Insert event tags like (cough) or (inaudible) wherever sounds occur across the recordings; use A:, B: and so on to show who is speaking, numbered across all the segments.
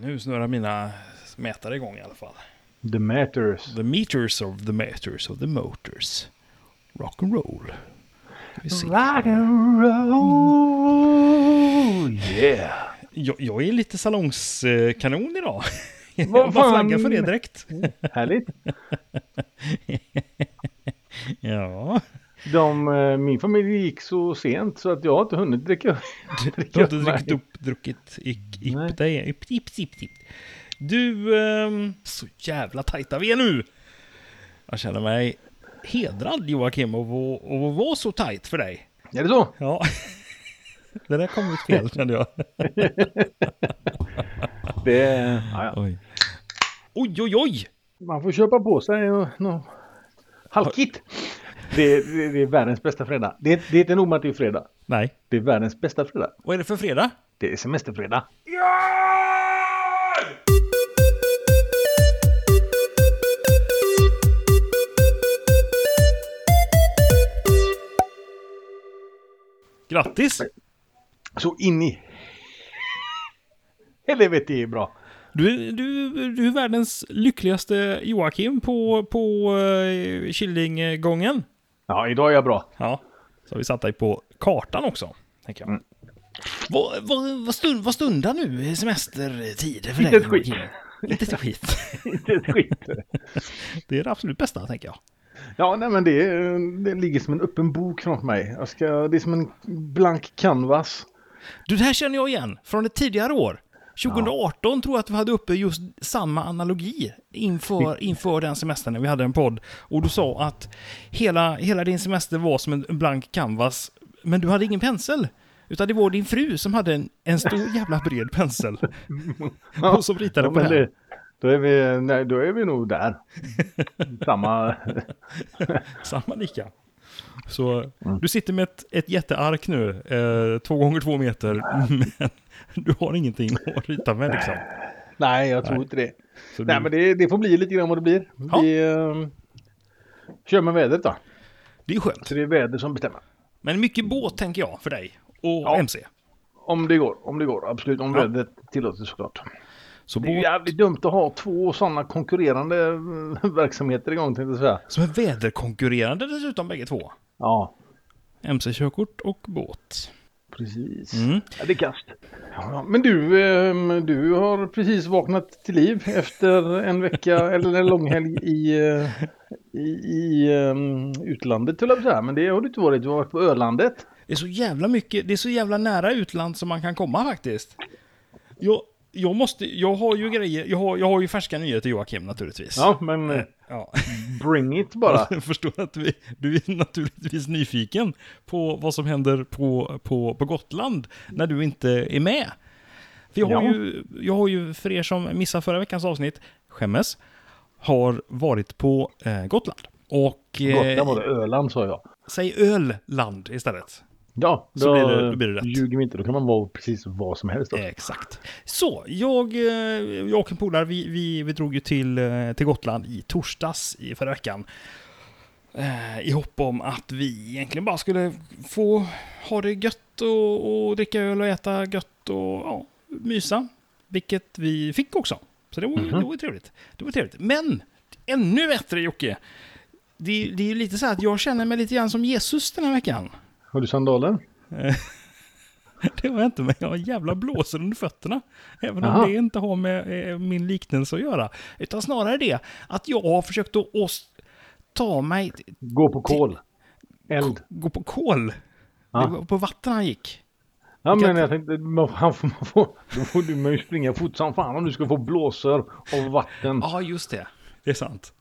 A: Nu snurrar mina mätare igång i alla fall.
B: The Matters.
A: The meters of the meters of the motors. Rock and roll. Vi ser.
B: Rock and roll. Yeah.
A: Jag, jag är lite salongskanon idag. (laughs) Jag
B: Vad
A: bara flaggar
B: fan?
A: för det direkt.
B: Härligt.
A: Ja,
B: De, eh, min familj gick så sent så att jag har inte hunnit dricka upp.
A: du har inte
B: Nej.
A: druckit upp, druckit ick,
B: Nej.
A: ipp dig. Ipp, ipp, ipp, ipp. Du, ehm, så jävla tajta vi är nu. Jag känner mig hedrad Joakim av att av att vara så tajt för dig.
B: Är det så?
A: Ja, (laughs) det där kom ut fel kände jag.
B: Det, ja, ja.
A: Oj, oj, oj. oj.
B: Man får köpa på sig eh, nå halkigt. Det, det, det är världens bästa fredag. Det, det är inte nog med att det är fredag.
A: Nej,
B: Det är världens bästa fredag.
A: vad är det för fredag?
B: Det är semesterfredag.
A: Grattis!
B: Så in i (laughs) helvete är bra.
A: Du, du, du är världens lyckligaste Joakim på, på uh, Killinggången.
B: Ja, idag är jag bra. (laughs)
A: Ja, så har vi satt dig på kartan också. Tänker jag.
B: Mm.
A: Vad, vad, vad, stund, vad stundar nu semestertider för
B: Inte
A: dig?
B: ett skit.
A: Joakim? Inte ett skit.
B: Inte ett skit.
A: (laughs) Det är det absolut bästa, tänker jag.
B: Ja, nej, men det, är- det ligger som en öppen bok framför mig. Jag ska, det är som en blank (laughs) canvas.
A: Du, det här känner jag igen från ett tidigare år. 2018 tror jag att vi hade uppe just samma analogi
B: Mm.
A: inför, inför den semestern när vi hade en podd. Och du sa att hela, hela din semester var som en blank canvas, men du hade ingen pensel. Utan det var din fru som hade en, en
B: (laughs)
A: stor jävla bred pensel. Och som ritade
B: Ja,
A: på
B: men
A: det här.
B: det- Då är, vi, nej, då är vi nog (laughs) där. Samma...
A: Samma lika. Så
B: Mm.
A: du sitter med ett, ett jätteark nu, eh, två gånger två meter, (laughs) men du har ingenting att rita med liksom.
B: (laughs) Nej, jag tror inte det.
A: Så
B: Nej,
A: du-
B: men det, det får bli lite grann vad det blir.
A: Ja.
B: Vi eh, kör med vädret då.
A: det är skönt.
B: Så det är väder som bestämmer.
A: Men mycket båt tänker jag för dig och
B: Ja.
A: MC.
B: Om det går, om det går, absolut. Om
A: Ja.
B: vädret tillåter såklart.
A: Så
B: Det är ju
A: båt
B: jävligt dumt att ha två sådana konkurrerande eh, (laughs) verksamheter igång tänkte jag säga.
A: som är väderkonkurrerande dessutom bägge två.
B: Ja,
A: MC-körkort och båt.
B: precis.
A: Mm.
B: Ja, det är kast. Ja, men du, ehm, du har precis vaknat till liv efter
A: (laughs)
B: en vecka eller en lång helg i, eh, i, i ehm, utlandet, höll jag på att säga. Men det har du inte varit. Du har varit på Ölandet.
A: Det är så jävla mycket, det är så jävla nära utland som man kan komma faktiskt. Jag, jag måste, jag har ju grejer, jag har, jag har ju färska nyheter Joakim naturligtvis.
B: Ja, men eh,
A: Ja.
B: bring
A: (laughs)
B: it bara.
A: Jag förstår att vi, du är naturligtvis nyfiken på vad som händer på, på, på Gotland när du inte är med. För jag, har
B: Ja.
A: ju, jag har ju, för er som missade förra veckans avsnitt, skämmes, har varit på eh, Gotland. Och
B: Gotland
A: eh,
B: var det, Öland sa jag.
A: säg Öland istället.
B: Ja,
A: så blir det- då blir det rätt. Eh.
B: ljuger vi inte. Då kan man vara precis vad som helst. Också.
A: Exakt. Så, jag, eh, jag och en polare, vi, vi, vi drog ju till, eh, till Gotland i torsdags i förra veckan. Eh, I hopp om att vi egentligen bara skulle få ha det gött och, och dricka öl och äta gött och ja, mysa. Vilket vi fick också. Så det var, ju-
B: Mhm.
A: det var ju trevligt. Det var trevligt. Men, ännu bättre Jocke! Det, det är ju lite så här att jag känner mig lite grann som Jesus den här veckan.
B: Har du sandaler?
A: Det var inte, men jag har jävla blåsor under fötterna. Även
B: Jaha.
A: om det inte har med eh, min liknelse att göra. Utan snarare det att jag har försökt att ås- ta mig, t-
B: Gå på kol. Eld.
A: gå på kol.
B: Ja.
A: Det var på vatten han gick.
B: Ja
A: kan
B: men
A: inte-
B: jag tänkte, man, han får, man får, då får du man ju springa fort som fan om du ska få blåsor av vatten.
A: Ja, just det. Det är sant.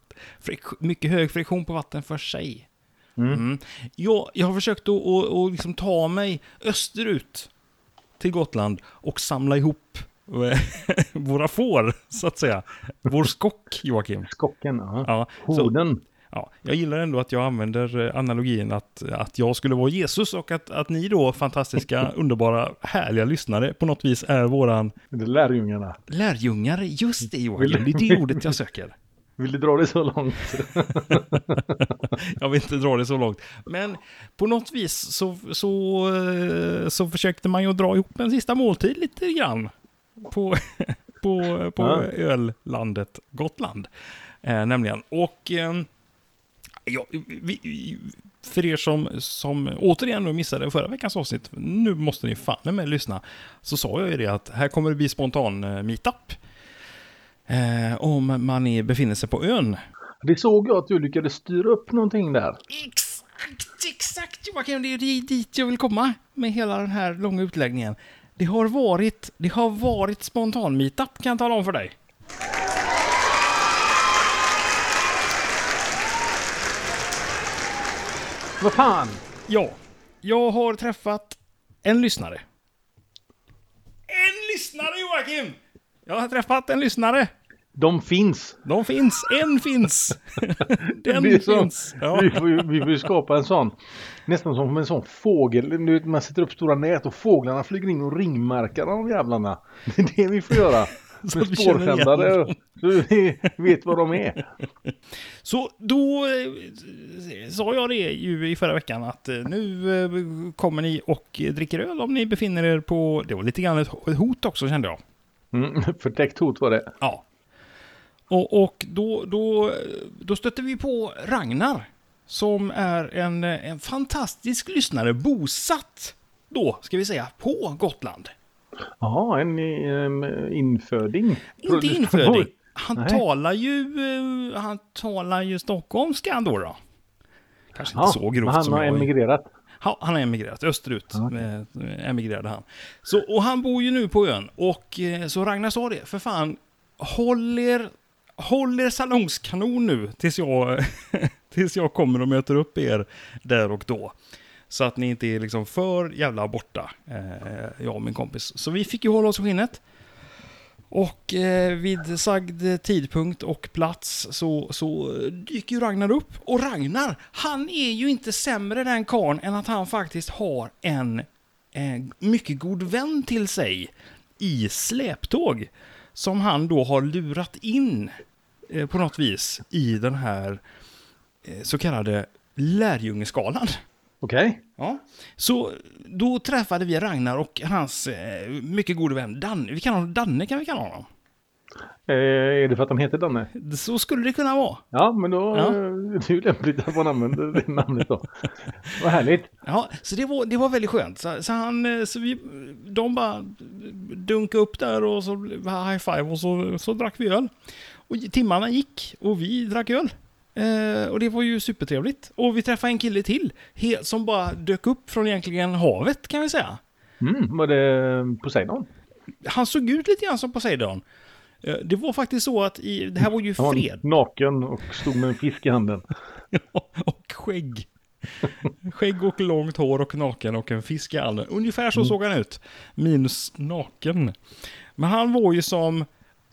A: Frik- mycket hög friktion på vatten för sig. Mm. Jag, jag har försökt att, att, att liksom ta mig österut till Gotland och samla ihop eh, (laughs) våra får, så att säga. Vår skock, Joakim.
B: Skocken, ja.
A: Ja, så,
B: Horden.
A: Ja, jag gillar ändå att jag använder eh, analogin att, att jag skulle vara Jesus och att, att ni då, fantastiska, underbara, härliga lyssnare, på något vis är våran
B: Det är lärjungarna.
A: lärjungar. Just det Joakim, det är det ordet jag söker.
B: Vill du dra det så långt?
A: Jag vill inte dra det så långt. Men på något vis så, så, eh, så försökte man ju dra ihop en sista måltid lite grann. På, (laughs) på, på
B: Ja.
A: öllandet Gotland. Eh, nämligen. Och ehm, ja, vi, vi- för er som, som återigen nu missade förra veckans avsnitt, nu måste ni fan med lyssna, så sa jag ju det att här kommer det bli spontan eh, meetup. Eh, om man är, befinner sig på ön.
B: Det såg jag att du lyckades styra upp någonting där.
A: Exakt, exakt Joakim, det är ju dit jag vill komma med hela den här långa utläggningen. Det har varit, det har varit spontan meetup kan jag tala om för dig.
B: Vad fan!
A: Ja, jag har träffat en lyssnare. En lyssnare Joakim! Jag har träffat en lyssnare.
B: De finns!
A: De finns, en
B: (laughs)
A: finns. Den
B: Det är som-
A: finns. Ja.
B: Vi, får ju, vi får ju skapa en sån, nästan som en sån fågel. Du vet, man sätter upp stora nät och fåglarna flyger in och ringmärkar de jävlarna. Det är det vi får göra.
A: (laughs) Så att
B: Med
A: vi känner igen
B: spårsändare. Så vi vet vad de är.
A: Så då eh, sa jag det ju i förra veckan att eh, nu eh, kommer ni och dricker öl om ni befinner er på... Det var lite grann ett ett hot också kände jag.
B: Mm, förtäckt hot var det.
A: Ja. Och, och då, då, då stötte vi på Ragnar. Som är en, eh, en fantastisk lyssnare bosatt då, ska vi säga, på Gotland.
B: Ja, en um, inföding.
A: Inte inföding.
B: (laughs)
A: Han
B: Nej.
A: talar ju, eh, han talar ju stockholmska ändå då. Kanske inte så
B: men
A: grovt
B: han
A: som
B: har
A: jag.
B: emigrerat.
A: Ja, han har emigrerat österut. eh, Emigrerade han. Så, och han bor ju nu på ön. Och eh, så Ragnar sa det, för fan, håll er, håll er salongskanon nu tills jag, (laughs) tills jag kommer och möter upp er där och då. Så att ni inte är liksom för jävla borta, eh, jag och min kompis. Så vi fick ju hålla oss i skinnet. Och eh, vid sagd tidpunkt och plats så, så dyker ju Ragnar upp. Och Ragnar, han är ju inte sämre den karln än att han faktiskt har en eh, mycket god vän till sig i släptåg. Som han då har lurat in eh, på något vis i den här eh, så kallade lärjungeskalan.
B: Okej.
A: Ja. Så då träffade vi Ragnar och hans eh, mycket gode vän Danne. Vi kallar honom Danne kan vi kalla honom.
B: Eh, är det för att han heter Danne?
A: Så skulle det kunna vara.
B: Ja, men då
A: Ja.
B: eh, (laughs) det är det ju lämpligt att man använder det namnet då. Vad härligt.
A: Ja, så det var, det var väldigt skönt. Så, så, han, eh, så vi, de bara dunkade upp där och så high five och så, så drack vi öl. Och timmarna gick och vi drack öl. Eh, och det var ju supertrevligt. Och vi träffade en kille till he- som bara dök upp från egentligen havet kan vi säga.
B: Mm, var det Poseidon?
A: Han såg ut lite grann som Poseidon. Eh, det var faktiskt så att i, det här var ju
B: Han var
A: fred.
B: naken och stod med en fisk i handen.
A: (laughs) och skägg. Skägg och långt hår och naken och en fisk i handen. Ungefär så såg han ut. Minus naken. Men han var ju som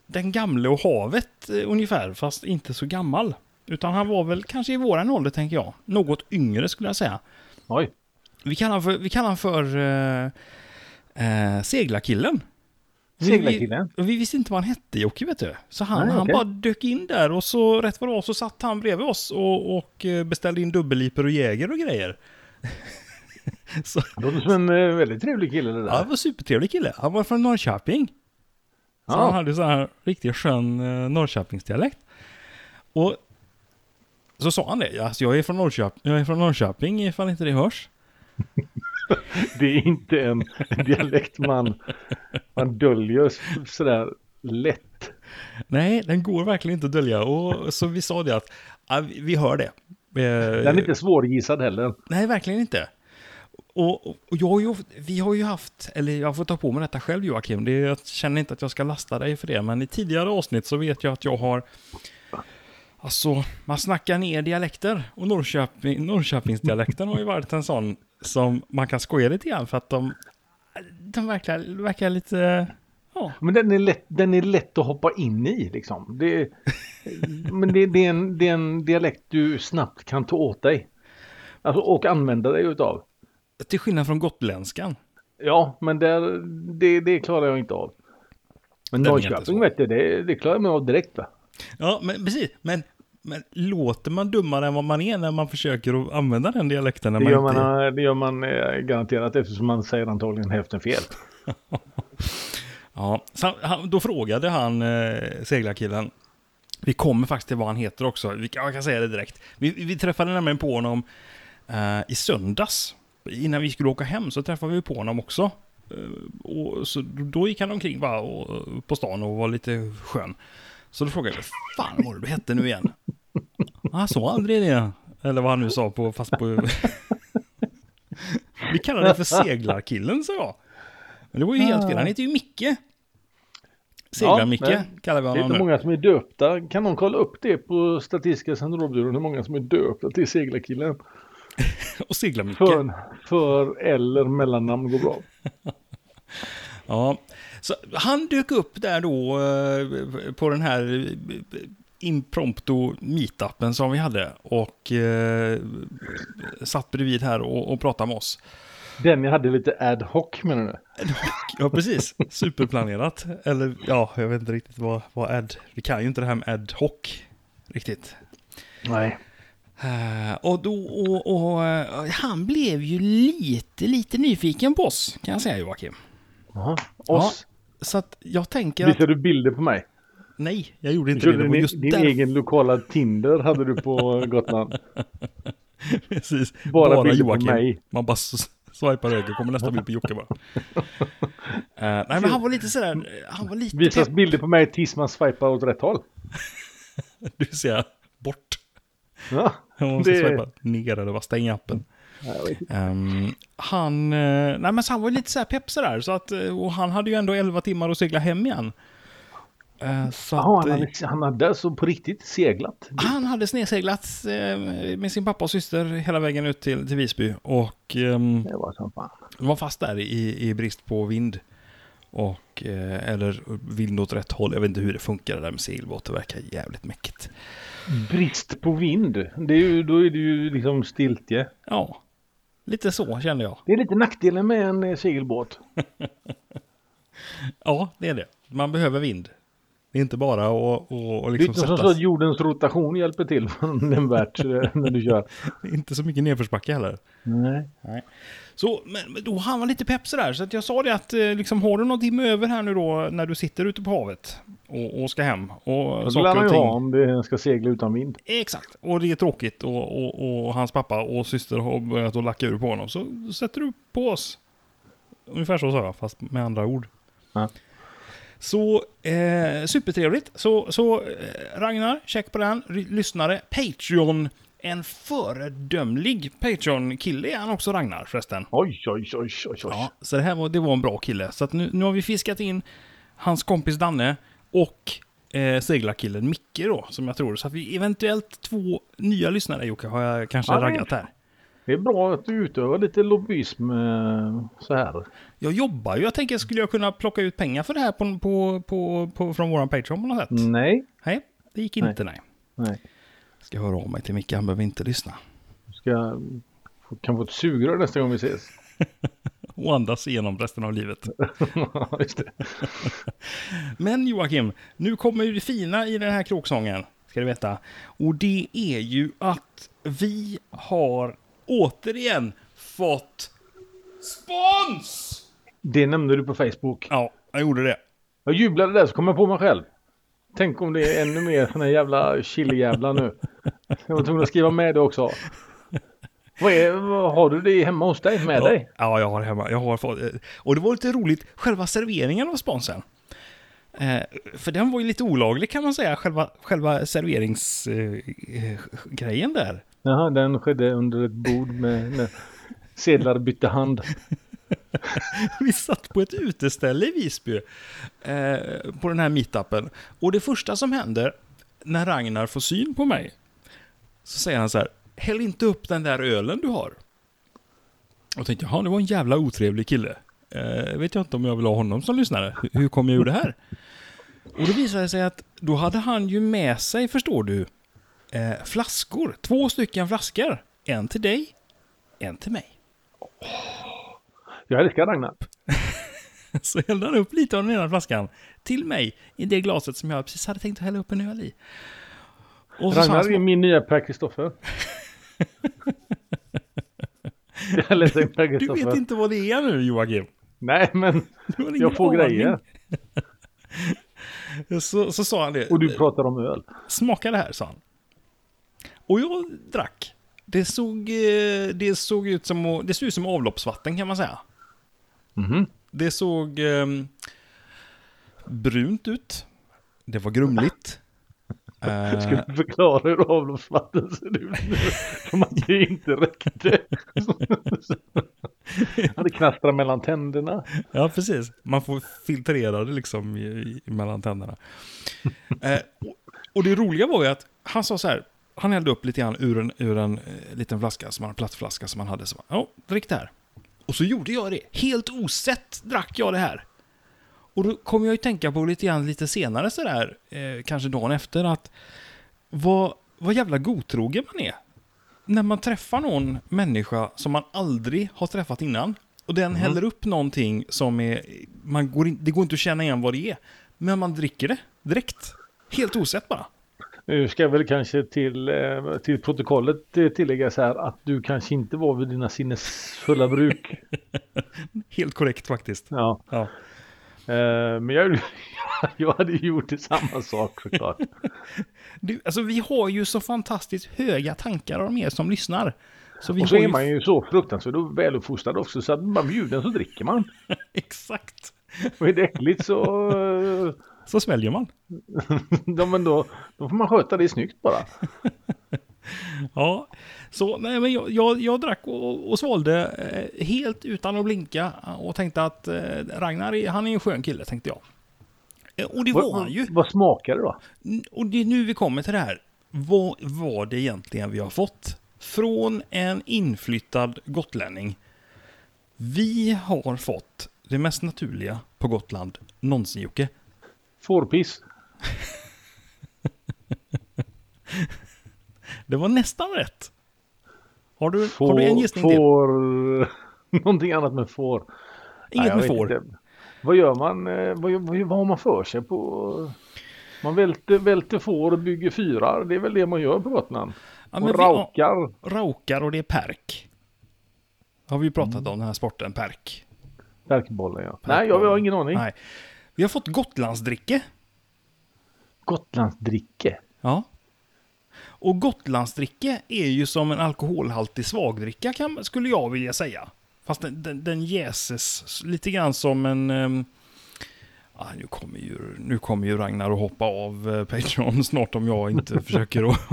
A: den gamle och havet eh, ungefär, fast inte så gammal. Utan han var väl kanske i våran ålder, tänker jag. Något yngre skulle jag säga.
B: Oj.
A: Vi kallar han för, vi kallar han för eh, eh, seglarkillen. Vi-
B: Seglarkillen.
A: Vi, vi visste inte vad han hette Jocke, vet du. Så han,
B: Nej,
A: han
B: okej.
A: bara dök in där och så rätt vad det var så satt han bredvid oss och, och eh, beställde in dubbelliper och jäger och grejer. (laughs) så,
B: Det låter som en eh, väldigt trevlig kille det där.
A: ja, han var supertrevlig kille. Han var från Norrköping. Så han
B: Ja.
A: hade så här riktigt skön eh, Norrköpingsdialekt. Och så sa han det, alltså jag är från Norrköping, jag är från Norrköping ifall inte det hörs.
B: Det är inte en dialekt man, man döljer s- sådär lätt.
A: Nej, den går verkligen inte att dölja. Och så vi sa det att, ja, vi vi hör det. Eh,
B: Den är inte svårgissad heller.
A: Nej, verkligen inte. Och, och jag har ju, vi har ju haft, eller jag får ta på mig detta själv Joakim, det, är- jag känner inte att jag ska lasta dig för det, men i tidigare avsnitt så vet jag att jag har, alltså man snackar ner dialekter och Norrköping, Norrköpingsdialekten har ju varit en sån som man kan skoja lite grann för att de, de verkar, verkar lite, ja,
B: Men den är lätt, den är lätt att hoppa in i liksom. Det, men det, det, är en, det är en dialekt du snabbt kan ta åt dig. Alltså, och använda dig utav.
A: till skillnad från gotländskan.
B: Ja, men där, det, det klarar jag inte av. Men
A: Den är inte
B: Norrköping
A: svår.
B: vet du, det, det klarar jag mig av direkt va?
A: Ja, men precis, men, men låter man dummare än vad man är när man försöker att använda den dialekten? När
B: Det
A: man
B: gör
A: inte är-
B: man, eh, det gör man eh, garanterat eftersom man säger antagligen hälften fel.
A: Ja, så han, då frågade han eh, seglarkillen. Vi kommer faktiskt till vad han heter också. Vi, kan- jag kan säga det direkt. Vi, vi träffade nämligen på honom eh, i söndags. Innan vi skulle åka hem så träffade vi på honom också. Eh, och så, då gick han omkring bara och, eh, på stan och var lite skön. Så då frågade jag, "Vad fan var det du hette nu igen? Han sa aldrig det. Eller vad han nu sa på, fast på... (laughs) vi kallade det för seglarkillen, sa jag. Men det var ju helt fel. Han heter ju Micke. Seglar-Micke
B: Ja,
A: kallar vi
B: Det är
A: honom
B: inte
A: nu.
B: många som är döpta. Kan någon kolla upp det på Statistiska centralbyrån hur många som är döpta till seglarkillen?
A: Och seglar-Micke.
B: För, för eller mellannamn går bra.
A: Ja, så han dök upp där då eh, på den här eh, impromptu meetupen som vi hade och eh, satt bredvid här och, och pratade med oss.
B: Den jag hade lite ad hoc menar du?
A: Ja, precis. Superplanerat. Eller ja, jag vet inte riktigt vad, vad ad... Vi kan ju inte det här med ad hoc riktigt.
B: Nej.
A: Eh, Och, då, och, och eh, han blev ju lite, lite nyfiken på oss, kan jag säga Joakim.
B: Jaha. Oss?
A: Så att jag tänker att...
B: Visade du bilder på mig?
A: Nej, jag gjorde inte det.
B: Körde
A: Det var
B: din,
A: just
B: din
A: därför-
B: egen lokala Tinder hade
A: (laughs)
B: du på Gotland.
A: Precis.
B: Bara bilder på mig.
A: Man bara s- swipar höger, kommer nästa bild på Jocke
B: (laughs)
A: bara. Eh, nej, men han var lite sådär, eh, han var lite...
B: Visas bilder på mig tills man swipar åt rätt håll.
A: (laughs) Du ser, bort.
B: Ja,
A: Man måste
B: Det-
A: swipa ner eller bara stänga appen.
B: jag vet
A: Ehm, han, eh, nej, men så han var lite så här pepp sådär, så att, eh, och han hade ju ändå 11 timmar att segla hem igen. Eh, så
B: Jaha,
A: att, eh,
B: han hade, han hade alltså på riktigt seglat.
A: Han hade sneseglats eh, med sin pappa och syster hela vägen ut till, till Visby och ehm,
B: Det var som fan.
A: De var fast där i, i brist på vind. Och, eh, eller vind åt rätt håll. Jag vet inte hur det funkar det där med segelbåt. Det verkar jävligt mäckigt.
B: Brist på vind. Det är ju, då är det ju liksom stiltje.
A: Ja, lite så kände jag.
B: Det är lite nackdelen med en eh, segelbåt.
A: Ja, det är det. Man behöver vind. Det är inte bara att och, och
B: Det är
A: liksom
B: inte som så
A: sätta
B: att jordens rotation hjälper till (laughs) nämnvärt eh, när du kör.
A: (laughs) Inte så mycket nedförsbacke heller.
B: Nej.
A: Så, men men då han var lite pepp sådär, så att jag sa det att eh, liksom, har du någon timme över här nu då när du sitter ute på havet och, och ska hem och
B: Det lär
A: saker
B: man
A: och
B: ju
A: ting.
B: ha om det ska segla utan vind.
A: Exakt, och det är tråkigt och, och, och hans pappa och syster har börjat att lacka ur på honom. Så sätter du på oss. Ungefär så sa jag, fast med andra ord.
B: Ja.
A: Så eh, supertrevligt. Så, så eh, Ragnar, check på den. Ry- lyssnare, Patreon. En föredömlig Patreon-kille är han också, Ragnar, förresten.
B: Oj, oj, oj, oj, oj.
A: Ja, så det här var, det var en bra kille. Så att nu, nu har vi fiskat in hans kompis Danne och eh, seglarkillen Micke då, som jag tror. Så att vi eventuellt två nya lyssnare, Jocke, har jag kanske
B: Ja, det är
A: raggat här.
B: Det är bra att du utövar lite lobbyism eh, så här.
A: Jag jobbar ju. Jag tänker, skulle jag kunna plocka ut pengar för det här på, på, på, på, från våran Patreon på något sätt?
B: Nej.
A: Nej, det gick
B: Mm. Nej.
A: inte, nej.
B: Nej.
A: Ska höra av mig till Micke, han behöver inte lyssna.
B: Du ska, kan få ett sugrör nästa gång vi ses. (laughs)
A: Och andas igenom resten av livet.
B: Just det.
A: Men Joakim, nu kommer ju det fina i den här kråksången, ska du veta. Och det är ju att vi har återigen fått spons!
B: Det nämnde du på Facebook.
A: Ja, jag gjorde det.
B: Jag jublade där så kom jag på mig själv. Tänk om det är ännu mer såna jävla chilijävlar nu. Jag var tvungen att skriva med det också. Vad är, vad, har du det hemma hos dig med dig?
A: Ja, jag har hemma. Jag har fått, eh, och det var lite roligt, själva serveringen av sponsen. Eh, för den var ju lite olaglig kan man säga, själva, själva serveringsgrejen där.
B: Jaha, den skedde under ett bord med när sedlar bytte hand.
A: (laughs) Vi satt på ett uteställe i Visby eh, på den här meetupen. Och det första som händer när Ragnar får syn på mig så säger han så här, häll inte upp den där ölen du har. Och tänkte, jaha, det var en jävla otrevlig kille. Eh, vet jag inte om jag vill ha honom som lyssnare. Hur- Hur kom jag ur det här? Och då visade det sig att då hade han ju med sig, förstår du, eh, flaskor. Två stycken flaskor. En till dig, en till mig.
B: Jag älskar Ragnar.
A: (laughs) Så hällde han upp lite av den ena flaskan till mig i det glaset som jag precis hade tänkt att hälla upp en öl i. Och så sa han
B: Ragnar
A: så-
B: är min nya
A: (laughs)
B: Per Kristoffer. Jag läser Per
A: du vet
B: Kristoffer.
A: inte vad det är nu Joakim.
B: Nej, men
A: Du har ingen
B: jag får
A: aning.
B: grejer.
A: Så, så sa han det.
B: Och du pratar om öl.
A: Smaka det här, sa han. Och jag drack. Det såg, eh, det såg ut som, att- det såg ut som avloppsvatten kan man säga.
B: Mhm.
A: Det såg eh, brunt ut. Det var
B: (laughs)
A: grumligt. Eh,
B: Ska du förklara hur avloppsvatten ser ut nu? Som att det
A: (laughs)
B: inte räckte. Ja, det knastrar mellan tänderna.
A: (laughs) Ja, precis. Man får filtrera det liksom i, i, mellan tänderna. eh, och, och det roliga var ju att han sa så här, han hällde upp lite grann ur en, ur en eh, liten flaska, som en plastflaska som han hade. Så bara, ja, drick det här. Och så gjorde jag det. Helt osett drack jag det här. Och då kom jag ju tänka på lite grann lite senare sådär, eh, kanske dagen efter, att vad, vad jävla godtrogen man är. När man träffar någon människa som man aldrig har träffat innan och
B: Mhm.
A: den häller upp någonting som är, man går in, det går inte att känna igen vad det är, men man dricker det direkt. Helt osett bara.
B: Nu ska jag väl kanske till, eh, till protokollet eh, tillägga så här att du kanske inte var vid dina
A: (laughs)
B: sinnesfulla bruk.
A: Helt korrekt faktiskt.
B: Ja,
A: Ja.
B: eh, men jag, (laughs) jag hade ju gjort det samma sak såklart.
A: Du, alltså vi har ju så fantastiskt höga tankar om er som lyssnar. Så vi
B: Och så
A: har
B: är man ju så fruktansvärt väluppfostrad också så att man bjuden så dricker man.
A: (laughs) Exakt.
B: Och är det äckligt så eh,
A: Så sväljer man.
B: ja, men då, då får man sköta det snyggt bara.
A: Ja, så nej, men jag, jag, jag drack och, och svalde eh, helt utan att blinka och tänkte att eh, Ragnar, är- han är en skön kille, tänkte jag. Eh, Och det var han ju.
B: Vad, vad smakar det då?
A: N- Och det är nu vi kommer till det här. Vad var det egentligen vi har fått? Från en inflyttad gotlänning. Vi har fått det mest naturliga på Gotland någonsin, Jocke.
B: Fårpiss.
A: Det var nästan rätt. Har du, har du en gissning till?
B: får... eh, (laughs) Någonting annat med får. Nej,
A: Inget
B: jag
A: med
B: vet
A: får.
B: inte. Vad gör man? eh, Vad, vad, vad har man för sig på? Man välter, välter får och bygger fyrar. Det är väl det man gör på Gotland.
A: Ja, men
B: och
A: vi-
B: raukar.
A: raukar och det är perk. Har vi ju pratat om den här sporten, perk.
B: Perkbollen ja. Nej, jag har ingen aning.
A: Nej. Vi har fått Gotlandsdricke.
B: Gotlandsdricke.
A: Ja. Och Gotlandsdricke är ju som en alkoholhaltig svagdricka kan, skulle jag vilja säga. Fast den, den, den jäses lite grann som en... ehm, ah, nu, kommer ju, nu kommer ju Ragnar att hoppa av eh, Patreon (laughs) snart om jag inte försöker att... (laughs)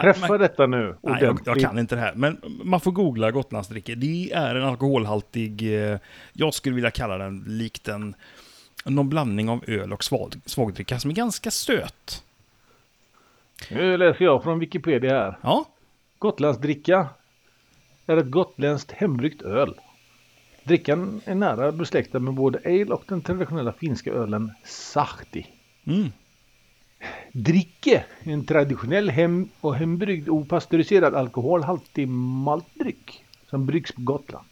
B: Träffa detta nu.
A: Nej, jag, jag
B: ordentligt.
A: kan inte det här. Men man får googla Gotlandsdricke. Det är en alkoholhaltig, eh, jag skulle vilja kalla den likt en, någon blandning av öl och svag, svagdricka som är ganska söt.
B: Nu läser jag från Wikipedia här.
A: Ja,
B: Gotlandsdricka är ett gotländskt hembryggt öl. Drickan är nära besläktad med både ale och den traditionella finska ölen sahti.
A: Mm.
B: Dricke, en traditionell hem och hembryggd opastöriserad alkoholhaltig maltdryck som bryggs på Gotland.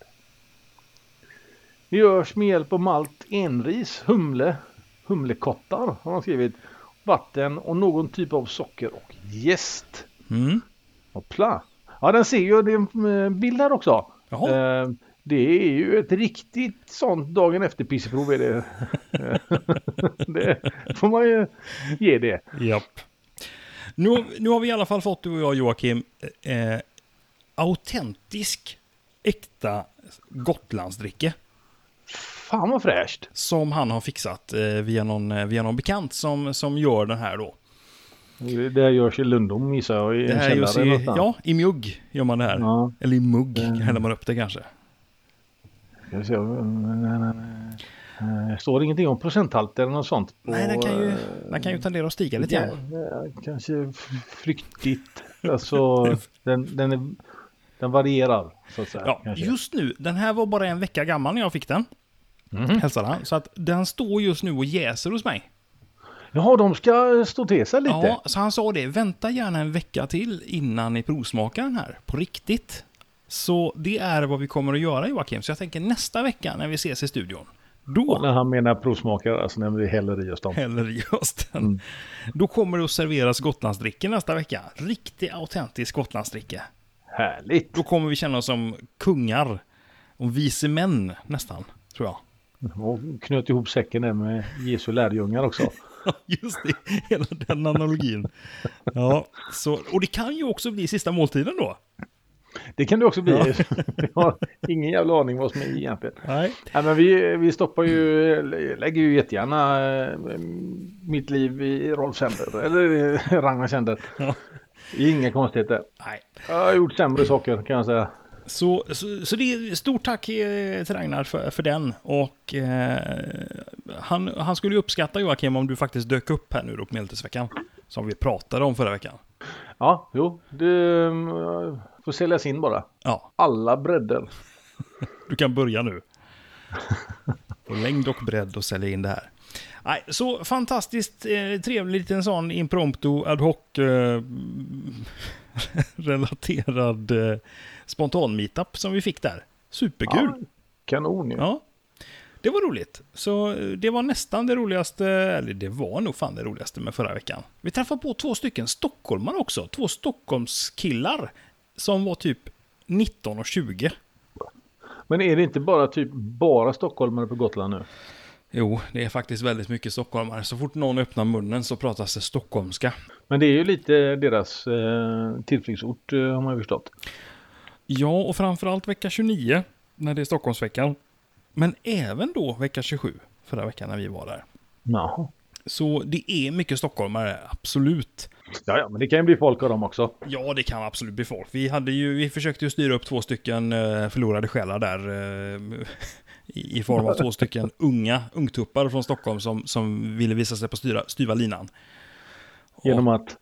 B: Det görs med hjälp av malt, enris, humle, humlekottar har man skrivit, vatten och någon typ av socker och jäst.
A: mm.
B: Hoppla! Ja, den ser ju, det är en eh, bild här också.
A: Jaha.
B: Eh, Det är ju ett riktigt sånt dagen efter pissprov
A: (laughs)
B: är det. (laughs) det får man ju ge det.
A: Japp. Nu, nu har vi i alla fall fått, du och jag Joakim, eh, autentisk, äkta Gotlandsdricke.
B: Fan vad fräscht!
A: Som han har fixat eh, via, någon, eh, via någon bekant som, som gör den här då.
B: Det här görs i Lundom gissar jag, i
A: Det
B: en
A: här görs
B: källare
A: i,
B: någonstans.
A: ja, i mjugg gör man det här.
B: Ja. Mm.
A: Eller i mugg häller man upp det kanske.
B: Ska vi se, mm, nej, nej, nej. Eh, Det står ingenting om procenthalt eller något sånt. på,
A: Nej, den kan, ju,
B: eh,
A: den kan ju tendera att stiga lite
B: ja,
A: grann.
B: eh, Kanske f- fryktigt.
A: (laughs)
B: Alltså, den, den, är, den varierar så att säga.
A: Ja,
B: kanske.
A: just nu, den här var bara en vecka gammal när jag fick den.
B: Mm.
A: Hälsade han. Så att den står just nu och jäser hos mig.
B: Jaha, de ska eh, stå till sig lite.
A: Ja, så han sa det. Vänta gärna en vecka till innan ni provsmakar den här. På riktigt. Så det är vad vi kommer att göra Joakim. Så jag tänker nästa vecka när vi ses i studion. Då
B: När han menar provsmakare, alltså när vi häller i oss dem.
A: häller i oss den. Då kommer det att serveras Gotlandsdricka nästa vecka. Riktig autentisk Gotlandsdricka.
B: Härligt!
A: Då kommer vi känna oss som kungar. Och vise män nästan, tror jag. (laughs)
B: Och knöt ihop säcken där med Jesu lärjungar också.
A: Just det, hela den analogin. Ja, så, och det kan ju också bli sista måltiden då.
B: Det kan det också bli. (laughs) Jag har ingen jävla aning vad som är egentligen.
A: Nej.
B: Nej, men vi, vi stoppar ju, lägger ju jättegärna eh, mitt liv i Rolfs händer, eller eh, Ragnars händer.
A: Ja.
B: Det är Inga konstigheter.
A: Nej.
B: Jag har gjort sämre saker kan jag säga.
A: Så, så, så det är stort tack eh, till Ragnar för, för den. Och eh, han, han skulle ju uppskatta Joakim om du faktiskt dök upp här nu då på Medeltidsveckan. Som vi pratade om förra veckan.
B: Ja, jo, du eh, får säljas in bara.
A: Ja,
B: Alla bredder.
A: du kan börja nu. På längd och bredd och sälja in det här. Nej, så fantastiskt eh, trevlig liten sån impromptu ad hoc eh, (laughs) relaterad eh, spontan meetup som vi fick där. Superkul!
B: Ja, kanon ju.
A: Ja. Det var roligt. Så eh, det var nästan det roligaste, eller det var nog fan det roligaste med förra veckan. Vi träffade på två stycken stockholmare också, två Stockholmskillar som var typ 19 och 20.
B: Men är det inte bara typ bara stockholmare på Gotland nu?
A: Jo, det är faktiskt väldigt mycket stockholmare. Så fort någon öppnar munnen så pratas det stockholmska.
B: Men det är ju lite deras eh, tillflyktsort eh, har man ju förstått.
A: Ja, och framförallt vecka 29, när det är Stockholmsveckan. Men även då vecka 27, förra veckan när vi var där.
B: Jaha.
A: Så det är mycket stockholmare, absolut.
B: Ja, ja, men det kan ju bli folk av dem också.
A: Ja, det kan absolut bli folk. Vi, hade ju, vi försökte ju styra upp två stycken eh, förlorade själar där. eh, I i form av två stycken unga ungtuppar från Stockholm som, som ville visa sig på styra, styva linan. Och-
B: Genom att...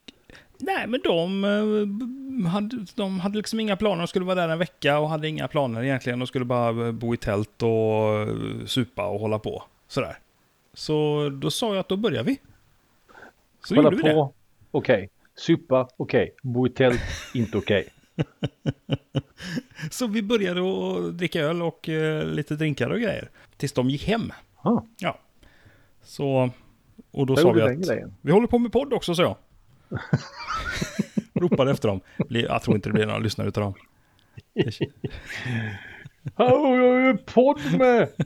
A: Nej, men de, eh, b- hade, de hade liksom inga planer. De skulle vara där en vecka och hade inga planer egentligen. De skulle bara eh, bo i tält och eh, supa och hålla på. Sådär. Så då sa jag att då börjar vi. Så
B: Kolla
A: gjorde vi det.
B: på, okej. Supa, okej. Bo i tält, inte okej.
A: Så vi började att dricka öl och eh, lite drinkar och grejer. Tills de gick hem.
B: Ah,
A: Ja. Så, och då
B: där
A: sa
B: gjorde
A: vi
B: vi den
A: att
B: grejen.
A: vi håller på med podd också,
B: (laughs)
A: sa jag. Ropade efter dem. Blir- Jag tror inte det blir några lyssnare utav dem.
B: Hallå, jag är ju podd med!
A: (laughs)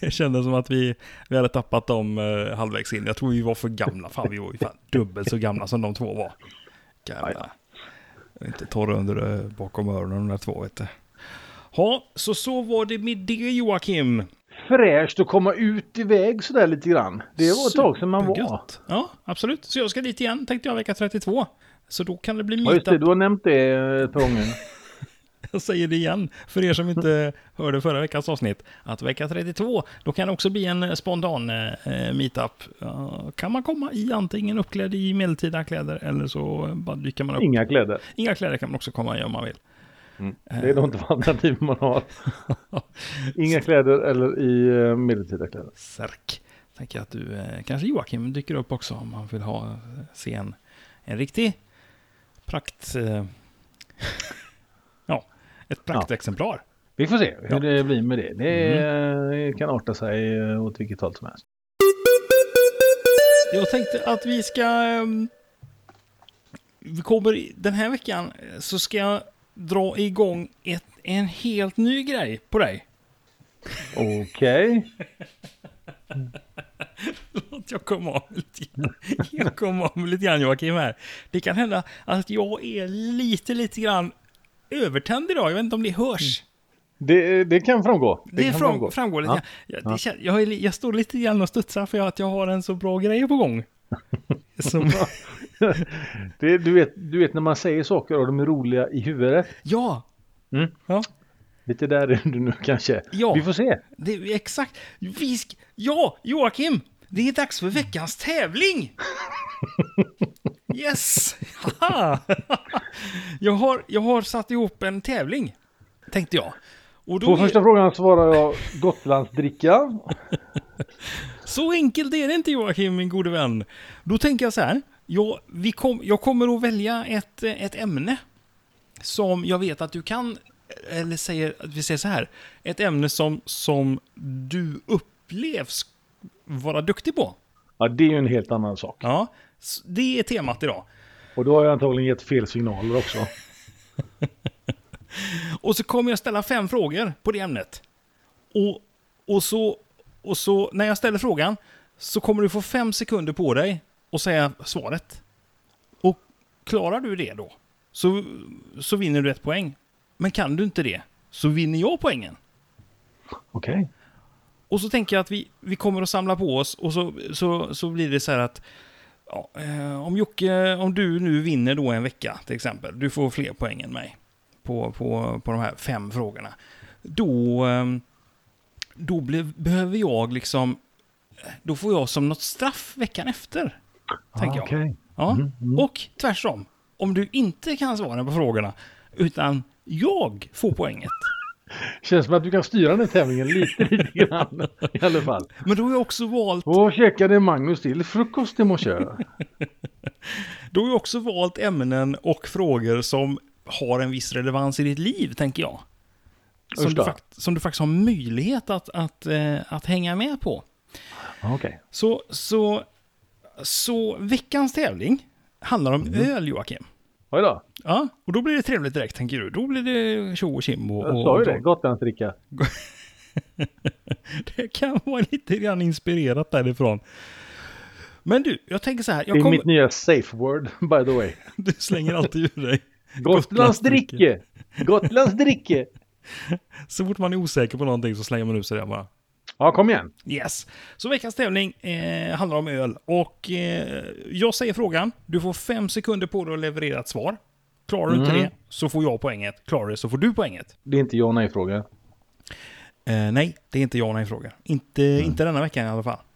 A: Det kändes som att vi, vi hade tappat dem eh, halvvägs in. Jag tror vi var för gamla. Fan, vi var ju fan dubbelt så gamla som de två var. Jävlar. Jag är Inte torra under eh, bakom öronen de där två, vet du. Ja, så så var det med det Joakim.
B: Fräscht att komma ut iväg sådär lite grann. Det var ett tag sedan man var.
A: Supergött. Ja, absolut. Så jag ska dit igen, tänkte jag, vecka 32. Så då kan det bli
B: Ja, just det.
A: meetup
B: Du har nämnt det eh, ett par gånger.
A: Jag säger det igen, för er som inte hörde förra veckans avsnitt, att vecka 32, då kan det också bli en spontan eh, meetup. Ja, kan man komma i antingen uppklädd i medeltida kläder eller så bara dyker man upp.
B: Inga kläder.
A: Inga kläder kan man också komma i om man vill.
B: Det är nog
A: Eh.
B: inte vad alternativ man har. Inga kläder eller i eh, medeltida kläder.
A: Särk. Tänker jag att du, eh, kanske Joakim dyker upp också om han vill ha, eh, se en, en riktig prakt... Eh, (laughs) ja, ett praktexemplar.
B: Vi får se hur
A: Ja.
B: det blir med det. Det eh, kan arta sig eh, åt vilket håll som helst.
A: Jag tänkte att vi ska... ehm, Vi kommer, i- den här veckan eh, så ska jag dra igång ett, en helt ny grej på dig. (laughs)
B: Okej.
A: Att Jag kom av med lite grann, (laughs) jag kom av med lite grann Joakim här. Det kan hända att jag är lite, lite grann övertänd idag. Jag vet inte om det hörs.
B: Det, Mm. det kan framgå.
A: Det,
B: kan
A: fram, framgår. lite
B: Ja.
A: grann. Jag, det, kän- jag, är li- jag står lite grann och studsar för att jag har en så bra grej på
B: (laughs)
A: gång. Som,
B: Det, du, vet, du vet när man säger saker och de är roliga i huvudet.
A: ja,
B: Mm.
A: ja.
B: Lite där är du nu kanske.
A: Ja.
B: Vi får se.
A: Det är exakt. Vi sk- ja, Joakim! Det är dags för veckans tävling!
B: (laughs)
A: Yes! Haha. jag, har, jag har satt ihop en tävling, tänkte jag. Och då
B: På
A: är,
B: första frågan svarar jag Gotlandsdricka.
A: Så enkelt är det inte Joakim, min gode vän. Då tänker jag så här. Jag, vi kom, jag kommer att välja ett, eh, ett ämne som jag vet att du kan, eller säger, att vi säger så här. Ett ämne som, som du upplevs vara duktig på.
B: Ja, det är ju en helt annan sak.
A: Ja, s- det är temat idag.
B: Och då har jag antagligen gett fel signaler också.
A: Och så kommer jag ställa fem frågor på det ämnet. Och, Och så, och så när jag ställer frågan så kommer du få fem sekunder på dig och säga svaret. Och klarar du det då så, så vinner du ett poäng. Men kan du inte det så vinner jag poängen.
B: Okej.
A: Och så tänker jag att vi, vi kommer att samla på oss och så, så, så blir det så här att ja, eh, om Jocke, om du nu vinner då en vecka till exempel, du får fler poäng än mig på, på, på de här fem frågorna. Då, eh, då blev, behöver jag liksom, då får jag som något straff veckan efter. tänker jag.
B: Ah, okej.
A: Ja. Och tvärtom, om du inte kan svaren på frågorna utan jag får poänget.
B: Känns som att du kan styra den här tävlingen lite, lite grann i alla fall.
A: Men då har jag också valt
B: Vad käkade Magnus till frukost i morse?
A: Då har jag också valt ämnen och frågor som har en viss relevans i ditt liv, tänker jag. Som,
B: Usch
A: du,
B: då.
A: fakt- som du faktiskt har möjlighet att, att, eh, att hänga med på.
B: Okej.
A: Så, så, så veckans tävling handlar
B: Mm.
A: om öl, Joakim.
B: Oj då.
A: Ja, och då blir det trevligt direkt, tänker du. Då blir det tjo och tjim och...
B: Jag
A: och
B: sa ju
A: då-
B: det. Gotlandsdricka.
A: det kan vara lite grann inspirerat därifrån. Men du, jag tänker så här.
B: Det
A: Jag
B: är
A: kommer,
B: mitt nya safe word, by the (laughs) way.
A: (laughs) Du slänger alltid ur dig.
B: Gotlandsdricke. Gotlandsdricke.
A: Så fort man är osäker på någonting så slänger man ut sig det bara.
B: Ja, kom igen.
A: Yes. Så veckans tävling eh, handlar om öl. Och eh, jag säger frågan. Du får fem sekunder på dig att leverera ett svar. Klarar du inte det så får jag poänget. Klarar du det så får du poänget.
B: Det är inte ja och nej-fråga.
A: Eh, nej, det är inte jag nej fråga. Inte, inte denna veckan i alla fall. Mm.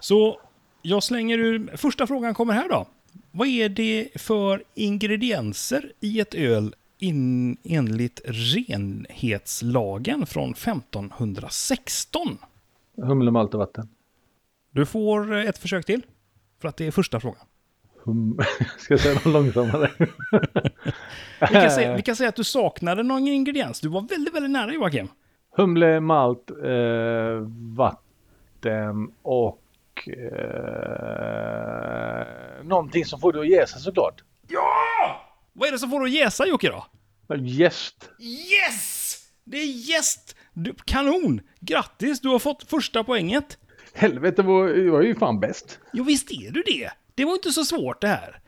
A: Så jag slänger ur... Första frågan kommer här då. Vad är det för ingredienser i ett öl in, enligt renhetslagen från 1516?
B: Humle, malt och vatten.
A: Du får eh, ett försök till. För att det är första
B: (laughs)
A: frågan.
B: Hum... Ska jag säga något långsammare?
A: Vi kan, säga, vi kan säga att du saknade någon ingrediens. Du var väldigt, väldigt nära Joakim.
B: Humle, malt, eh, vatten och eh, någonting som får dig att jäsa såklart.
A: Vad är det som får dig att jäsa Jocke då?
B: Jäst.
A: Yes! Det är jäst! Du, kanon! Grattis, du har fått första poänget.
B: Helvete, vad- jag är ju fan bäst.
A: Jo, visst är du det? Det var inte så svårt det här.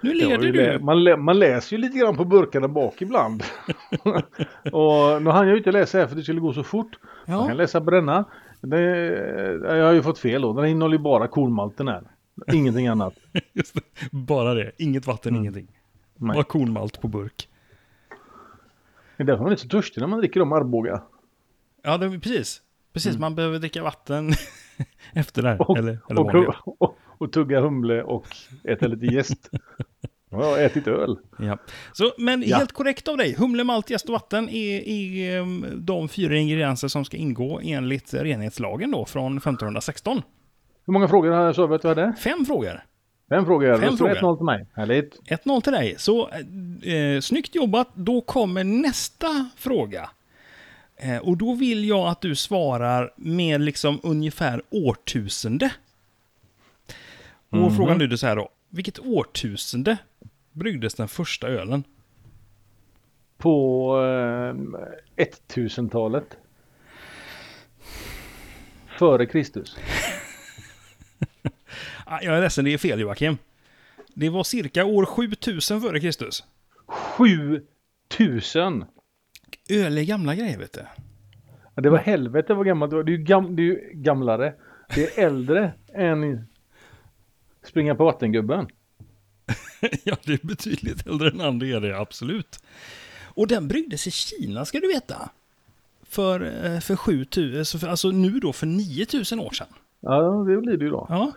A: Nu
B: Det var
A: leder
B: ju det.
A: du.
B: Man, lä- man läser ju lite grann på burkarna bak (laughs) ibland. och nu hann jag ju inte läsa här för det skulle gå så fort.
A: Ja.
B: Man kan läsa på denna. Det, eh, jag har ju fått fel då. Den innehåller ju bara kornmalten här. Ingenting annat.
A: (laughs) Just det. Bara det. Inget vatten, ingenting.
B: Mm. Nej.
A: Bara kornmalt på burk.
B: Det är därför man är så törstig när man dricker dem Arboga.
A: Ja, det, precis. Precis, man behöver dricka vatten (laughs) efter det här.
B: Mm. Och,
A: Eller, eller
B: och,
A: vad det är.
B: och, och, tugga humle och äta lite jäst. Ja, Jag har ätit öl.
A: Ja. Så, men
B: Ja.
A: helt korrekt av dig. Humle, malt, jäst och vatten är, är ehm, de fyra ingredienser som ska ingå enligt renhetslagen då från 1516. Fem
B: Hur många frågor har jag så att du hade?
A: frågor.
B: Fem frågor.
A: Fem
B: Fem
A: frågor.
B: frågor. 1-0 till mig. Härligt.
A: 1-0 till dig. Så eh, eh, snyggt jobbat. Då kommer nästa fråga. Eh, och då vill jag att du svarar med liksom ungefär årtusende. Och frågan lyder så här då. Vilket årtusende bryggdes den första ölen?
B: På eh, 1000-talet. Före Kristus.
A: Ah, Jag är ledsen, det är fel Joakim. Det var cirka år 7000 före Kristus.
B: 7000!
A: Öl är gamla grejer vet du.
B: Ja, Det var helvete vad gammalt det var. Det är ju, gam, det är ju gamlare. Det är äldre (laughs) än springa på vattengubben.
A: (laughs) ja, det är betydligt äldre än andra är det, absolut. Och den bryggdes i Kina ska du veta. För, eh, för 7000, alltså nu då för 9000 år sedan.
B: Ja, det blir det ju då.
A: Ja.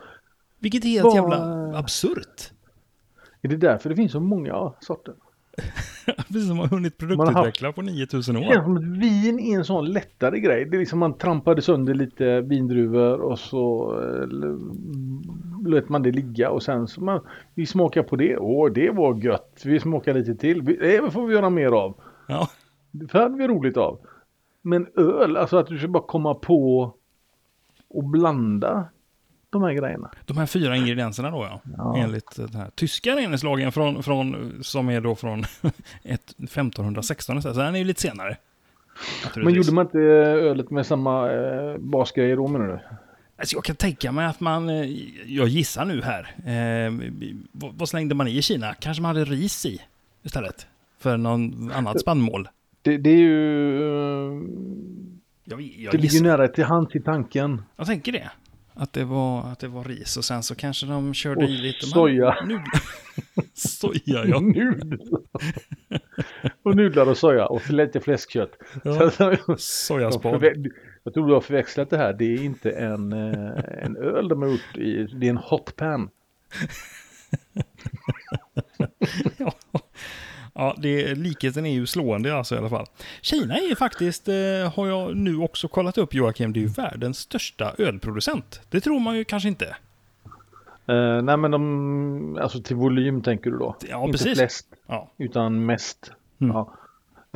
A: Vilket är helt
B: Vad-
A: jävla absurt. (laughs)
B: Är det därför det finns så många sorter?
A: Precis som man har hunnit
B: har haft-
A: produktutveckla på 9000
B: Det känns
A: år.
B: som att vin är en sån lättare grej. Det är liksom man trampade sönder lite vindruvor och så eh, l- lät man det ligga och sen så man, vi smakar på det. Åh, det var gött. Vi smakar lite till. Vi, det får vi göra mer av.
A: Ja.
B: Det här hade vi roligt av. Men öl, alltså att du ska bara komma på och blanda de här grejerna.
A: De här fyra ingredienserna då ja. Enligt den här tyska reningslagen (laughs) från, från, som är då från ett- 1516. Så den är ju lite senare.
B: Men gjorde man inte ölet med samma eh, basgrejer då menar du?
A: Alltså jag kan tänka mig att man, eh, jag gissar nu här, eh, vad, vad slängde man i i Kina? Kanske man hade ris i istället? För någon annat spannmål?
B: Det, det är ju... eh,
A: Jag, jag,
B: Det ligger ju
A: gissar,
B: nära till hands i tanken.
A: jag tänker det. Att det, var, att det var ris och sen så kanske de körde
B: Och
A: i lite... man-
B: soja. Mm.
A: nudlar. (laughs) soja, (laughs) ja.
B: Nudlar. (laughs) och nudlar och soja och för lite fläskkött.
A: ja.
B: (laughs) Så- de
A: Sojaspan.
B: förve- Jag tror du har förväxlat det här. Det är inte en, eh, en öl de har gjort i, det är en hotpan.
A: (laughs) Ja. Ja, det, likheten är ju slående alltså i alla fall. Kina är ju faktiskt, eh, har jag nu också kollat upp Joakim, det är ju världens största ölproducent. Det tror man ju kanske inte.
B: Eh, nej men de, alltså till volym tänker du då?
A: Ja,
B: inte
A: precis.
B: flest
A: Ja,
B: utan mest.
A: Mm.
B: Ja.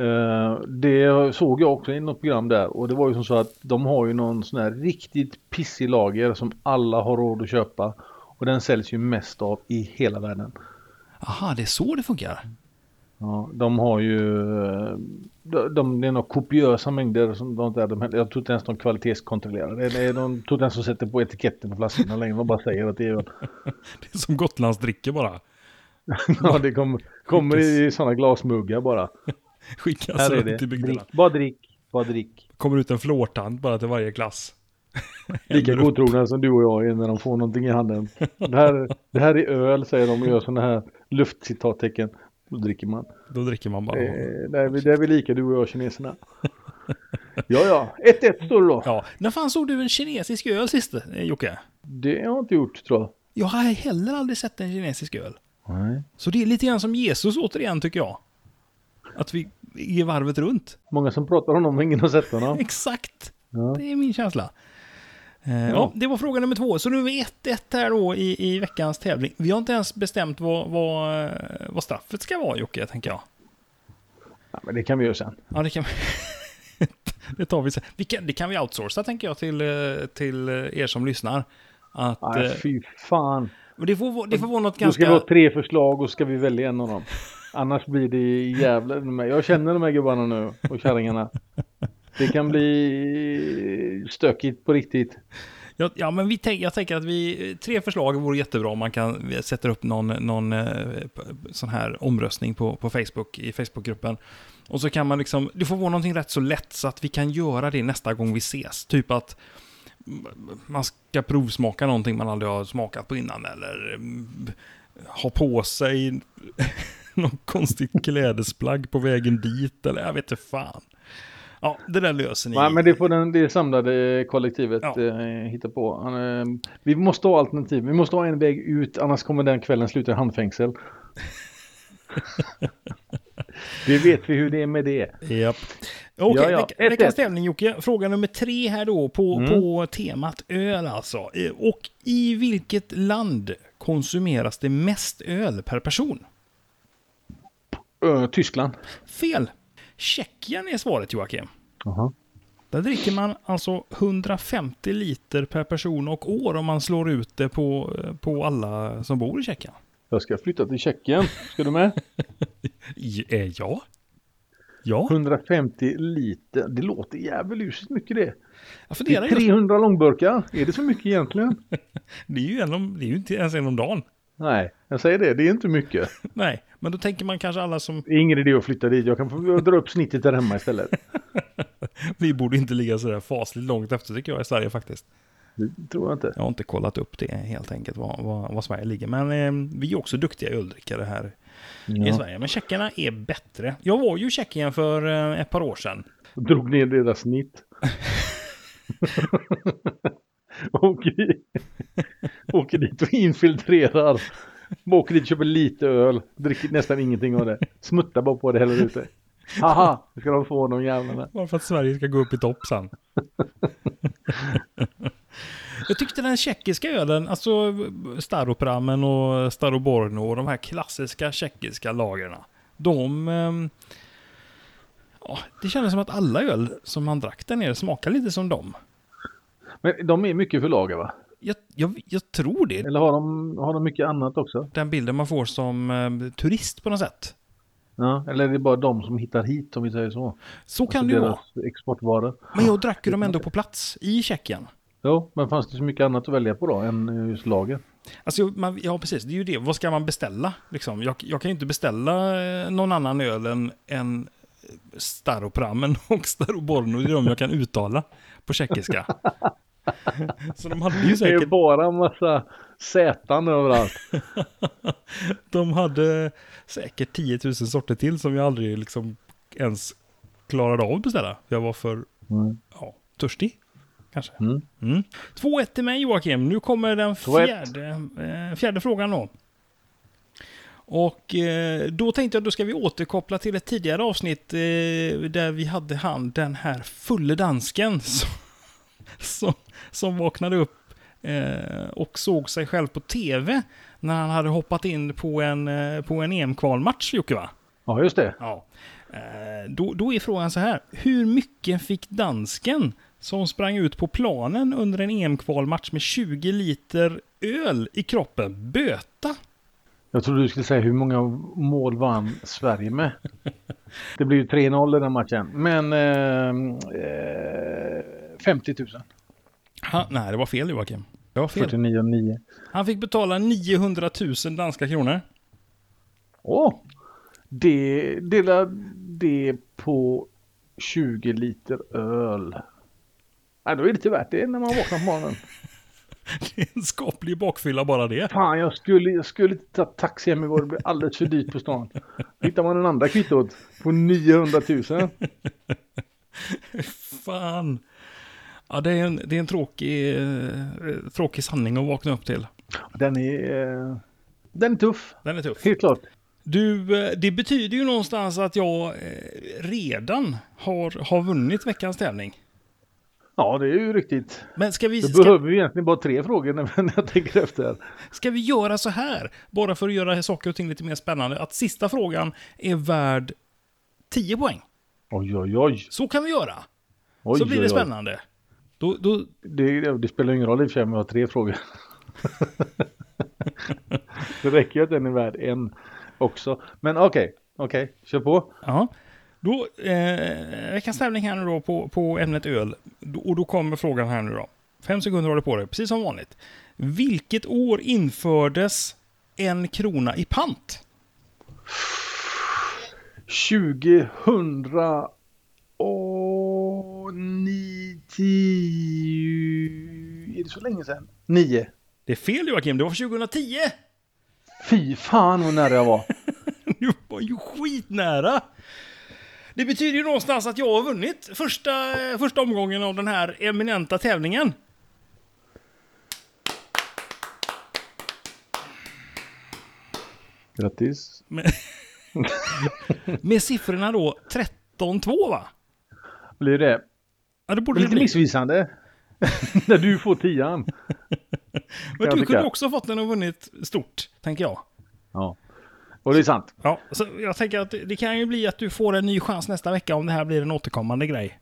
B: Eh, det såg jag också i något program där och det var ju som så att de har ju någon sån här riktigt pissig lager som alla har råd att köpa. Och den säljs ju mest av i hela världen.
A: aha, det är så det funkar.
B: Ja, de har ju, eh, de, de, det är några kopiösa mängder som de där, de, jag tror inte ens de kvalitetskontrollerar. Det är, de tror inte ens de sätter på etiketten på flaskorna längre, de bara säger att det är (laughs)
A: Det är som Gotlandsdricka bara.
B: Ja, det kommer, kommer i sådana glasmuggar bara.
A: Skickas
B: Här är
A: runt
B: det.
A: till
B: Drick,
A: bygderna.
B: bara drick, bara drick.
A: Kommer ut en flårtant bara till varje klass.
B: Lika
A: Häller upp.
B: godtrogna som du och jag är när de får någonting i handen. Det här, det här är öl, säger de och gör sådana här luftcitattecken. Då dricker man.
A: Då dricker man bara.
B: Eh, där, är vi, där är vi lika, du och jag, kineserna. Ja, ja. 1-1 står det då.
A: Ja, när fan såg du en kinesisk öl sist, eh, Jocke?
B: Det har jag inte gjort, tror jag.
A: Jag har heller aldrig sett en kinesisk öl.
B: Nej.
A: Så det är lite grann som Jesus återigen tycker jag. Att vi är varvet runt.
B: Många som pratar om honom, men ingen har
A: (laughs)
B: sett honom.
A: Exakt.
B: Ja.
A: Det är min känsla. Eh, ja.
B: Ja.
A: det var fråga nummer två. Så nu är vi 1-1 här då i, i veckans tävling. Vi har inte ens bestämt vad, vad, eh, vad straffet ska vara Jocke, tänker jag.
B: Ja, men det kan vi göra sen.
A: Ja, det kan vi. (laughs) det tar vi sen. Vi kan, det kan vi outsourca, tänker jag, till, eh, till eh, er som lyssnar. Att,
B: Nej,
A: eh,
B: fy fan.
A: men det, får, vara- det får vara något
B: Då ska
A: ganska...
B: vi ha tre förslag och ska vi välja en av dem. Annars blir det jävla... men Jag känner de här gubbarna nu och kärringarna. Det kan bli stökigt på riktigt.
A: Ja, ja, men vi tänk, jag tänker att vi, tre förslag vore jättebra om man kan vi sätter upp någon, någon eh, p- sån här omröstning på, på Facebook, i Facebookgruppen. Och så kan man liksom, det får vara någonting rätt så lätt så att vi kan göra det nästa gång vi ses. Typ att m- man ska provsmaka någonting man aldrig har smakat på innan eller mm, ha på sig (laughs) någon konstigt klädesplagg på vägen dit eller jag vet inte fan. Ja, det där löser ni.
B: Nej, men det får den, det samlade kollektivet
A: Ja.
B: eh, hitta på. Han, eh, vi måste ha alternativ. Vi måste ha en väg ut, annars kommer den kvällen sluta i handfängsel.
A: (laughs)
B: det vet vi hur det är med det.
A: Japp. Okej,
B: Ja, ja.
A: veck-
B: Ett,
A: veckans
B: ett.
A: tävling Jocke. Fråga nummer tre här då på, på temat öl alltså. Eh, Och i vilket land konsumeras det mest öl per person?
B: Ö, Tyskland.
A: Fel. Tjeckien är svaret Joakim.
B: Jaha.
A: Där dricker man alltså 150 liter per person och år om man slår ut det på, eh, på alla som bor i Tjeckien.
B: Jag ska flytta till Tjeckien. Ska du (laughs) med?
A: J- eh, Ja. Ja,
B: 150 liter. Det låter jävligt lusigt mycket det.
A: jag
B: Det
A: funderar
B: är
A: just.
B: 300 långburkar. Är det så mycket egentligen?
A: Det är ju, en om, det är ju inte ens en om dagen.
B: Nej, jag säger det. Det är inte mycket.
A: Nej, men då tänker man kanske alla som
B: Det är ingen idé att flytta dit. Jag kan få dra upp snittet där hemma istället.
A: (laughs) Vi borde inte ligga sådär fasligt långt efter tycker jag i Sverige faktiskt.
B: Det tror jag inte.
A: Jag har inte kollat upp det helt enkelt vad, vad, vad Sverige ligger. Men eh, vi är också duktiga öldrickare här i
B: Ja.
A: Sverige. Men tjeckerna är bättre. Jag var ju i Tjeckien för eh, ett par år sedan.
B: Drog ner deras snitt. (laughs) åker, dit. åker dit och infiltrerar. Åker dit, köper lite öl. Dricker nästan ingenting av det. Smuttar bara på det, häller ut det. Haha, nu ska de få de jävlarna.
A: Bara för att Sverige ska gå upp i topp sen. (laughs) jag tyckte den tjeckiska ölen, alltså Staropramen och Staroborno och de här klassiska tjeckiska lagerna. De... ehm, Ja, det kändes som att alla öl som man drack där nere smakade lite som dem.
B: Men de är mycket för lager va?
A: Jag, jag, jag tror det.
B: Eller har de, har de mycket annat också?
A: Den bilden man får som eh, turist på ehm, något sätt.
B: Ja, eller är det bara de som hittar hit om vi säger så?
A: Så kan
B: Alltså
A: det ju vara.
B: deras exportvaror.
A: Men jag drack ju dem ändå på plats i Tjeckien.
B: Jo, men fanns det så mycket annat att välja på då än eh, just lager?
A: Alltså, jag- man, ja, precis. Det är ju det. Vad ska man beställa? Liksom? Jag, jag kan ju inte beställa eh, någon annan öl än, än eh, (laughs) Staropramen och Staroborno. Det är de jag kan uttala på
B: (laughs)
A: tjeckiska. Så de hade ju
B: Det är
A: säkert...
B: bara en massa sätan överallt.
A: De hade säkert 10 000 sorter till som jag aldrig liksom ens klarade av att beställa. Jag var för
B: Mm.
A: ja, törstig. Kanske.
B: Mm.
A: Mm. 2-1 till mig Joakim. Nu kommer den
B: 2-1.
A: fjärde, eh, fjärde frågan då. Och eh, då tänkte jag då ska vi återkoppla till ett tidigare avsnitt eh, där vi hade han den här fulle dansken (laughs) som, som, som vaknade upp eh, och såg sig själv på tv när han hade hoppat in på en, eh, på en EM-kvalmatch Jocke va?
B: (laughs) Ja, just det.
A: Ja. Eh, Då, då är frågan så här. Hur mycket fick dansken som sprang ut på planen under en EM-kvalmatch med 20 liter öl i kroppen böta?
B: Jag trodde du skulle säga hur många mål vann Sverige (laughs) med. Det blev ju 3-0 i den matchen. Men ehm, eh, 50 000.
A: Ha, nej, det var fel Joakim. Det var fel.
B: 49 9.
A: Han fick betala 900 000 danska kronor. (laughs)
B: Åh! Det delar det på 20 liter öl. Ja, då är det inte värt det när man vaknar på morgonen.
A: Det är en skaplig bakfylla bara det.
B: Fan, jag skulle, jag skulle inte ta taxi hem igår. Det blir alldeles för dyrt på stan. Hittar man den andra kvittot på 900 000.
A: Fan. Ja, det är en, det är en tråkig, eh, tråkig sanning att vakna upp till.
B: Den är, eh, den är tuff,
A: Den är tuff.
B: helt klart.
A: Du, eh, det betyder ju någonstans att jag eh, redan har, har vunnit veckans tävling.
B: Ja, det är ju riktigt.
A: Men ska vi,
B: Då
A: ska,
B: behöver vi egentligen bara tre frågor när när jag tänker efter.
A: ska vi göra så här, bara för att göra saker och ting lite mer spännande, att sista frågan är värd 10 poäng.
B: Oj, oj, oj.
A: Så kan vi göra.
B: oj
A: så blir
B: oj,
A: det
B: oj.
A: spännande. Då, då,
B: Det, det spelar ingen roll i och för sig om jag har tre frågor. det räcker ju att den är värd en också. Men okej, okej, kör på.
A: ja. Då, eh, veckans tävling här nu då på, på ämnet öl. Då- Och då kommer frågan här nu då. Fem sekunder har du på dig, precis som vanligt. Vilket år infördes en krona i pant?
B: 2009... Är det så länge sedan? Nio.
A: Det är fel Joakim, det var 2010!
B: Fy fan vad nära jag var.
A: (laughs) Du var ju skitnära! Det betyder ju någonstans att jag har vunnit första, eh, första omgången av den här eminenta tävlingen.
B: Grattis.
A: Med, med siffrorna då 13-2 va?
B: Blir det?
A: Ja, det borde det
B: Lite
A: bli.
B: missvisande. När du får tian.
A: Men
B: jag
A: du
B: tycka.
A: kunde också ha fått den och vunnit stort, tänker jag.
B: Ja. Och det är sant.
A: Ja, så jag tänker att det- det kan ju bli att du får en ny chans nästa vecka om det här blir en återkommande grej.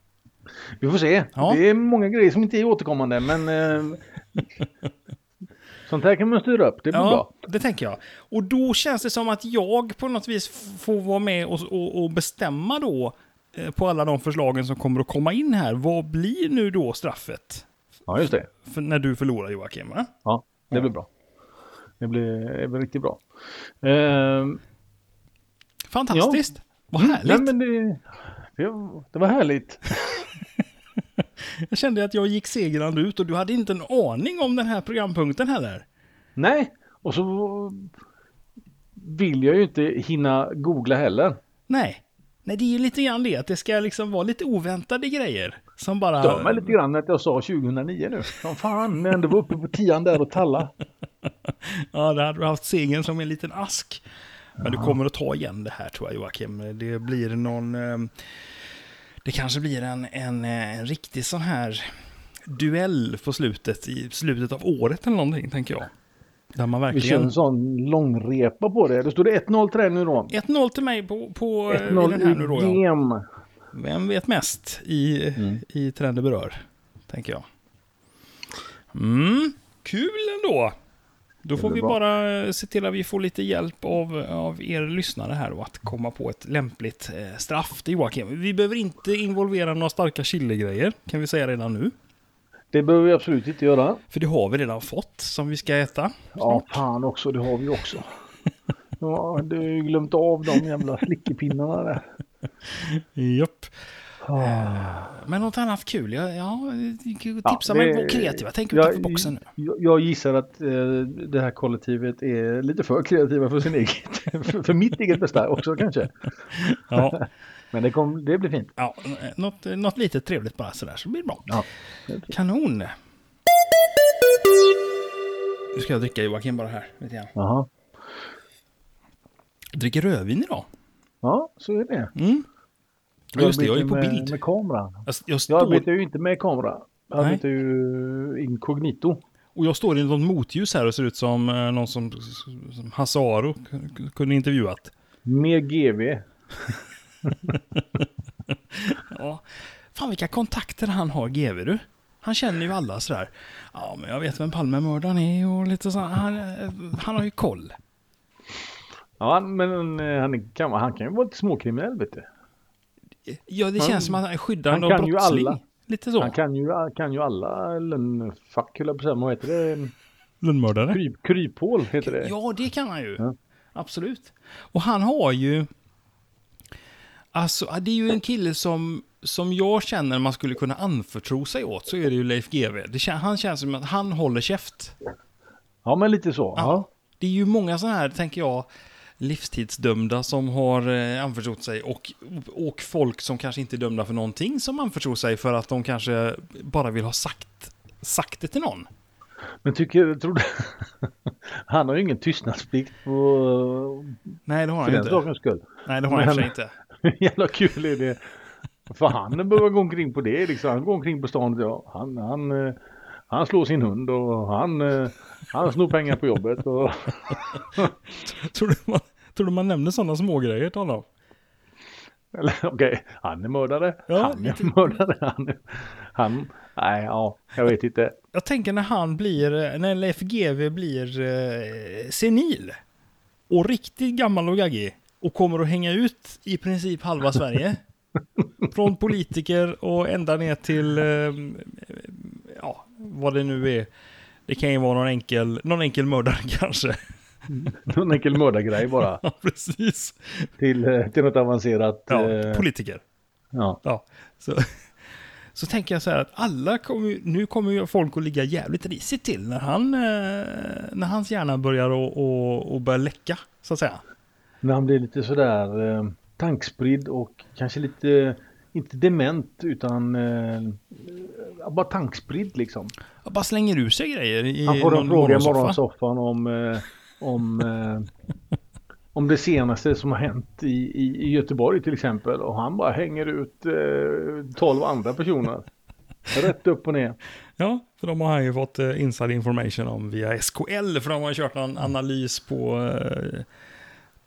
B: Vi får se.
A: Ja.
B: Det är många grejer som inte är återkommande, men...
A: (laughs)
B: Eh, sånt här kan man styra upp. Det blir bra.
A: det tänker jag. Och då känns det som att jag på något vis f- får vara med och, och, och bestämma då eh, på alla de förslagen som kommer att komma in här. Vad blir nu då straffet
B: Ja, just det.
A: för när du förlorar Joakim? Va?
B: Ja, det blir bra. Det blir, det blir riktigt bra. Eh,
A: Fantastiskt! Vad
B: Mm, nej,
A: härligt!
B: men det, det, det var härligt.
A: Jag kände att jag gick segrande ut och du hade inte en aning om den här programpunkten heller.
B: nej, och så vill jag ju inte hinna googla heller.
A: Nej. Nej, det är ju lite grann det att det ska liksom vara lite oväntade grejer som bara...
B: stör mig lite grann att jag sa 2009 nu. Som fan, men det var uppe på tian där och talla.
A: Ja, där hade du haft segern som en liten ask. Men du kommer att ta igen det här tror jag Joakim. Det blir någon... eh, Det kanske blir en, en, eh, en riktig sån här duell på slutet, i slutet av året eller någonting tänker jag. Där man
B: Vi kör
A: verkligen...
B: en sån långrepa på det. Då står det 1-0 till dig nu då.
A: 1-0 till mig på, på eh, i
B: 1-0
A: den här nu då.
B: i
A: Ja.
B: gem.
A: Vem vet mest i, i trender berör, tänker jag. Mm, kul Mm, ändå! Då får vi
B: Underbart.
A: bara eh, se till att vi får lite hjälp av, av er lyssnare här och att komma på ett lämpligt eh, straff till Joakim. Vi behöver inte involvera några starka chiligrejer, kan vi säga redan nu.
B: Det behöver vi absolut inte göra.
A: För det har vi redan fått som vi ska äta.
B: Ja, fan också, det har
A: (laughs)
B: vi också. Ja, du har ju glömt av de jävla slickepinnarna där.
A: Japp.
B: Ah.
A: Men något annat kul? Ja, ja tipsa
B: Ja,
A: mig
B: det-
A: om att vara kreativa. Tänk
B: jag-
A: utanför boxen nu.
B: Jag, jag gissar att eh, det här kollektivet är lite för kreativa för sin eget, (laughs) för, för mitt eget bästa också kanske.
A: Ja,
B: Men det, kom, det blir fint.
A: ja, något, något lite trevligt bara sådär så blir det bra.
B: Ja.
A: Kanon! Nu ska jag dricka Joakim bara här. Vet jag.
B: Jaha.
A: jag dricker rödvin idag.
B: Ja, så är det.
A: Mm. Ja, just det, jag är ju på
B: Arbetar
A: bild.
B: Med, med kameran.
A: Jag, jag
B: Jag
A: står,
B: arbetar ju inte med kamera. Jag
A: Nej.
B: arbetar ju inkognito.
A: och jag står i något motljus här och ser ut som eh, någon som, som Hasse Aro k- k- kunde intervjuat.
B: Med GV.
A: Ja. Fan vilka kontakter han har, GV du. Han känner ju alla sådär. Ja, men jag vet vem Palmemördaren är och lite så. Han, eh, han har ju koll.
B: Ja, han- men eh, han kan, han kan ju vara lite småkriminell vet du.
A: Ja, det
B: Han-
A: känns som att han är
B: han
A: skyddande
B: kan
A: av
B: ju
A: brottsling.
B: alla.
A: Lite så.
B: Han kan ju, kan ju alla lönnfack, höll jag på att säga. Vad heter det?
A: Lönnmördare.
B: Kryp, kryphål heter det.
A: Ja, det kan han ju.
B: eh, Ja.
A: Absolut. Och han har ju... Alltså, det är ju en kille som, som jag känner man skulle kunna anförtro sig åt, så är det ju Leif GW. Det, kän- han känns som att han håller käft.
B: Ja, men lite så. Ja.
A: Det är ju många sådana här, tänker jag, livstidsdömda som har eh, anförtrott sig och, och folk som kanske inte är dömda för någonting som anförtror sig för att de kanske bara vill ha sagt, sagt det till någon.
B: Men tycker, tror du... (laughs) Han har ju ingen tystnadsplikt på,
A: Nej, det har
B: för
A: han ju
B: den
A: inte.
B: sakens skull. (laughs)
A: Nej, det har han i och för sig
B: Men-
A: inte.
B: Hur jävla kul är det? För han behöver gå omkring på det liksom. Han går omkring på stan. Ja, han, han, eh, han slår sin hund och han, eh, han snor pengar på jobbet. Och...
A: (laughs) Tror du man, tror du man nämner sådana smågrejer till honom?
B: Eller (laughs) okej, han är mördare.
A: Ja, typ-
B: han är
A: lite.
B: mördare. (laughs) Han, är- han, nej, ja, jag vet inte.
A: Jag tänker när han blir, när Leif GW blir eh, senil och riktigt gammal och gaggig och kommer att hänga ut i princip halva (laughs) Sverige. Från politiker och ända ner till, eh, ja, vad det nu är. Det kan ju vara någon enkel, någon enkel mördare (laughs) kanske.
B: Någon enkel mördargrej bara.
A: Ja, precis.
B: Till, eh, till något avancerat.
A: Ja,
B: eh,
A: politiker.
B: ja.
A: Ja, så, (laughs) så tänker jag så här att alla kommer ju- nu kommer ju folk att ligga jävligt risigt till när, han, eh, när hans hjärna börjar och, och, och börjar läcka, så att säga.
B: När han blir lite sådär eh, tankspridd och kanske lite, inte dement utan eh, ja, bara tankspridd liksom.
A: Jag bara slänger ur sig grejer i
B: Han får en
A: någon
B: fråga i
A: morgonsoffa.
B: morgonsoffan om, eh,
A: (laughs)
B: om, eh, om det senaste som har hänt i, i, i Göteborg till exempel. Och han bara hänger ut eh, 12 andra personer. Rätt upp och ner.
A: Ja, för de har han ju fått eh, inside information om via SKL, för de har ju kört någon
B: Mm.
A: analys på, eh,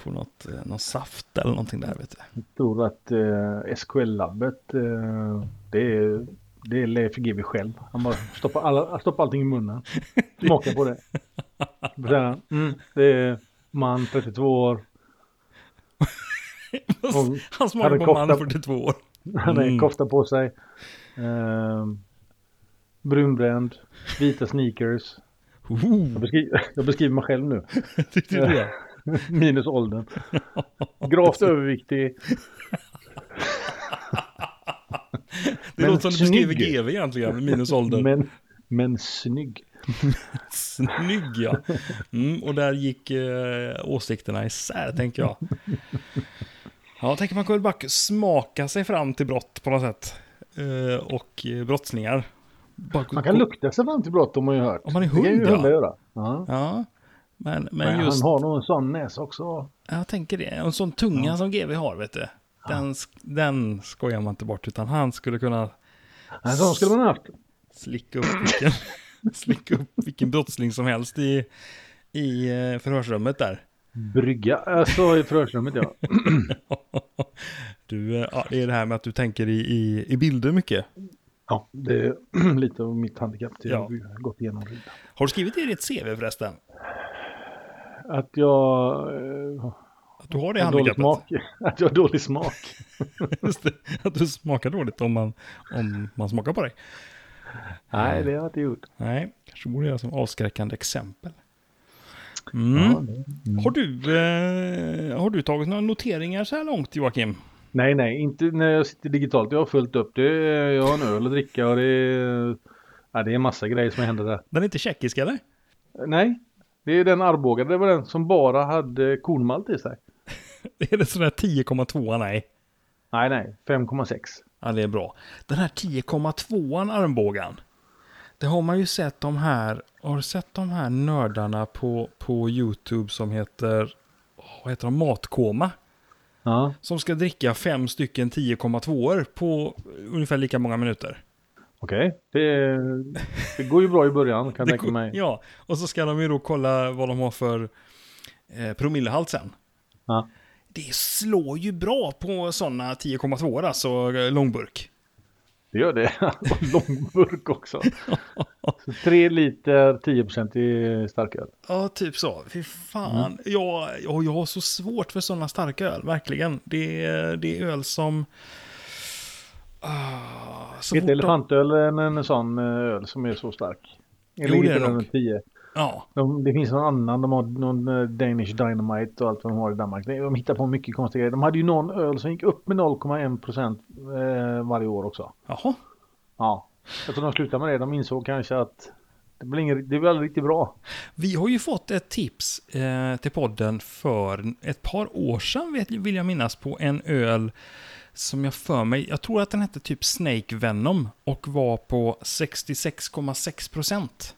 A: på något, eh, någon saft eller någonting där, vet du.
B: Tror att eh, SKL-labbet, eh, det är, det är Leif GW själv. Han bara stoppar, alla, han stoppar allting i munnen. Smakar
A: (laughs)
B: på det. Så här, Mm, det är man 32 år. Och
A: (laughs) Han
B: Mm. hade
A: smakar på man
B: kofta-
A: 42 år. (laughs)
B: (laughs) Han har
A: Mm.
B: en kofta på sig. Ehm, brunbränd. Vita sneakers.
A: Oh,
B: Jag beskriver, (laughs) jag beskriver mig själv nu.
A: det är det. (laughs)
B: Minus åldern. Gravt överviktig.
A: Det
B: Men
A: låter som du beskriver
B: snygg.
A: GV egentligen, minus ålder.
B: Men, men snygg.
A: Snygg ja. Mm, och där gick eh, åsikterna isär tänker jag. Ja, tänker man kunde bara smaka sig fram till brott på något sätt. Eh, och eh, brottslingar. Bara-
B: Man kan lukta sig fram till brott om man ju hört.
A: Om man är
B: Det kan ju
A: hund, ja.
B: hundar göra. Ja.
A: Ja, men, men
B: Men
A: just,
B: han har nog en sån näsa också.
A: jag tänker det. En sån tunga som GV har, vet du. Den, sk- den skojar man inte bort, utan han skulle kunna
B: En sån skulle man ha haft.
A: slicka upp vilken, (laughs) slicka upp vilken brottsling som helst i, i eh, förhörsrummet där.
B: Brygga. Alltså i förhörsrummet ja.
A: (laughs) Du, eh, ja, det är det här med att du tänker i, i, i bilder mycket.
B: Ja, det är (clears throat) lite av mitt handikapp. Det
A: Ja.
B: har vi gått igenom redan.
A: Har du skrivit det i ditt CV förresten?
B: Att jag eh,
A: Att du har det
B: har dålig
A: handikappet.
B: smak. (laughs) Att jag har dålig smak.
A: (laughs) Just det. Att du smakar dåligt om man, om man smakar på dig.
B: Nej, det har jag inte gjort.
A: Nej, kanske borde göra som avskräckande exempel. Mm.
B: Ja, det-
A: Har, du, eh, har du tagit några noteringar så här långt Joakim?
B: Nej, nej, inte när jag sitter digitalt. Jag har fullt upp det. Jag har en öl att dricka och det är, ja, det är en massa grejer som händer där.
A: Den är inte tjeckisk eller? (laughs)
B: Nej, det är den Arboga. Det var den som bara hade kornmalt i sig.
A: Är det sån där 10,2? Nej.
B: Nej, nej, 5,6.
A: Ja, det är bra. Den här 10,2an armbågan. Det har man ju sett de här, har du sett de här nördarna på, på YouTube som heter, åh, vad heter de, Matkoma?
B: Ja,
A: Som ska dricka fem stycken 10,2or på ungefär lika många minuter.
B: okej. Det, det går ju bra i början kan
A: Det
B: jag tänka
A: går-
B: mig.
A: Ja, och så ska de ju då kolla vad de har för eh, promillehalt sen.
B: Ja.
A: Det slår ju bra på sådana 10,2 alltså eh, långburk.
B: Det gör det. (laughs) Och
A: (laughs)
B: långburk också. Så tre liter 10 i starköl.
A: Ja, typ så. Fy fan. Jag, jag, jag har så svårt för sådana starka öl, verkligen. Det, är- det är öl som... Ah, så fort
B: Inte
A: de-
B: elefantöl men en sån eh, öl som är så stark. Eller
A: Jo, det
B: inte
A: är det
B: den
A: nog.
B: med 10.
A: Ja,
B: De, det finns någon annan, de har någon eh, Danish Dynamite och allt vad de har i Danmark. De hittar på mycket konstiga grejer. De hade ju någon öl som gick upp med 0,1 procent eh, varje år också.
A: jaha.
B: Ja. Jag tror de slutade med det. De insåg kanske att det blir, ingen, det blir aldrig riktigt bra.
A: Vi har ju fått ett tips eh, till podden för ett par år sedan vet, vill jag minnas på en öl som jag för mig, jag tror att den hette typ Snake Venom och var på 66,6 procent.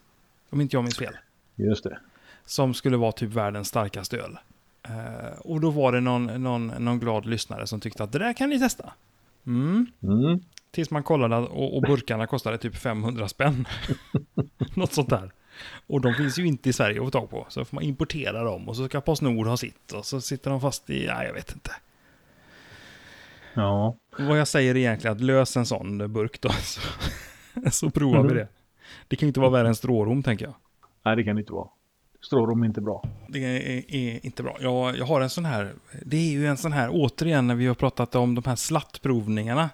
A: Om inte jag minns fel.
B: Just det.
A: Som skulle vara typ världens starkaste öl. Eh, och då var det någon, någon, någon glad lyssnare som tyckte att det där kan ni testa. Mm.
B: Mm.
A: Tills man kollade att- och, och burkarna kostade typ 500 spänn. (laughs) Något sånt där. Och de finns ju inte i Sverige att få tag på. Så får man importera dem och så ska Postnord ha sitt. Och så sitter de fast i, nej jag vet inte.
B: Ja.
A: Vad jag säger är egentligen att lös en sån burk då. (laughs) Så, så provar vi
B: Mhm.
A: det. Det kan ju inte vara värre än strårom tänker jag. Nej,
B: Nej, det kan det inte vara. Strårom är inte bra.
A: Det är, är inte bra. Jag, jag har en sån här, det är ju en sån här, återigen när vi har pratat om de här slattprovningarna.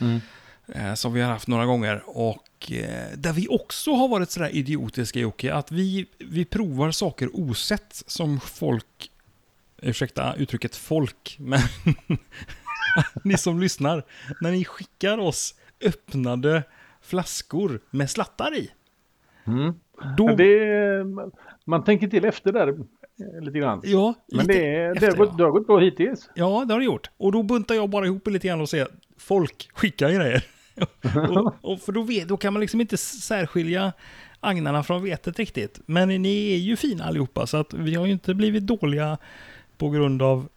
B: Mm.
A: eh, som vi har haft några gånger och eh, där vi också har varit sådär idiotiska Jocke, att vi, vi provar saker osett som folk, ursäkta uttrycket folk, men (laughs) ni som lyssnar, när ni skickar oss öppnade flaskor med slattar i,
B: Mm.
A: då...
B: Men Det, man tänker till efter där eh, lite grann.
A: ja,
B: Men
A: lite
B: det, är- det,
A: efter,
B: har gått, det
A: ja.
B: har gått bra hittills.
A: ja, det har det gjort. Och då buntar jag bara ihop det lite grann och säger, folk skickar grejer. (laughs) och, och för då, vet, då kan man liksom inte särskilja agnarna från vetet riktigt. Men ni är ju fina allihopa, så att vi har ju inte blivit dåliga på grund av...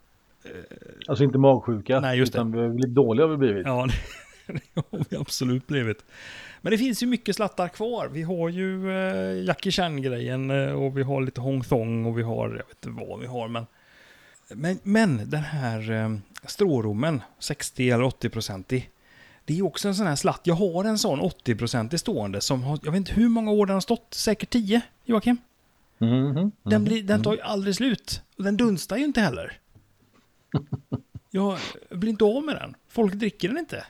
B: Alltså inte magsjuka.
A: Nej, just det.
B: Utan vi har blivit dåliga har vi blivit.
A: Ja, (laughs) det, det har vi absolut blivit. Men det finns ju mycket slattar kvar. Vi har ju eh, Jackie Chan-grejen eh, och vi har lite Hong Thong och vi har, jag vet inte vad vi har, men... Men, men den här eh, strårommen, 60 eller 80-procentig, det är också en sån här slatt. Jag har en sån 80-procentig stående som har, jag vet inte hur många år den har stått, säkert 10, Joakim.
B: Mhm.
A: Den, blir, den tar ju aldrig slut. Och den dunstar ju inte heller. Jag blir inte av med den. Folk dricker den inte.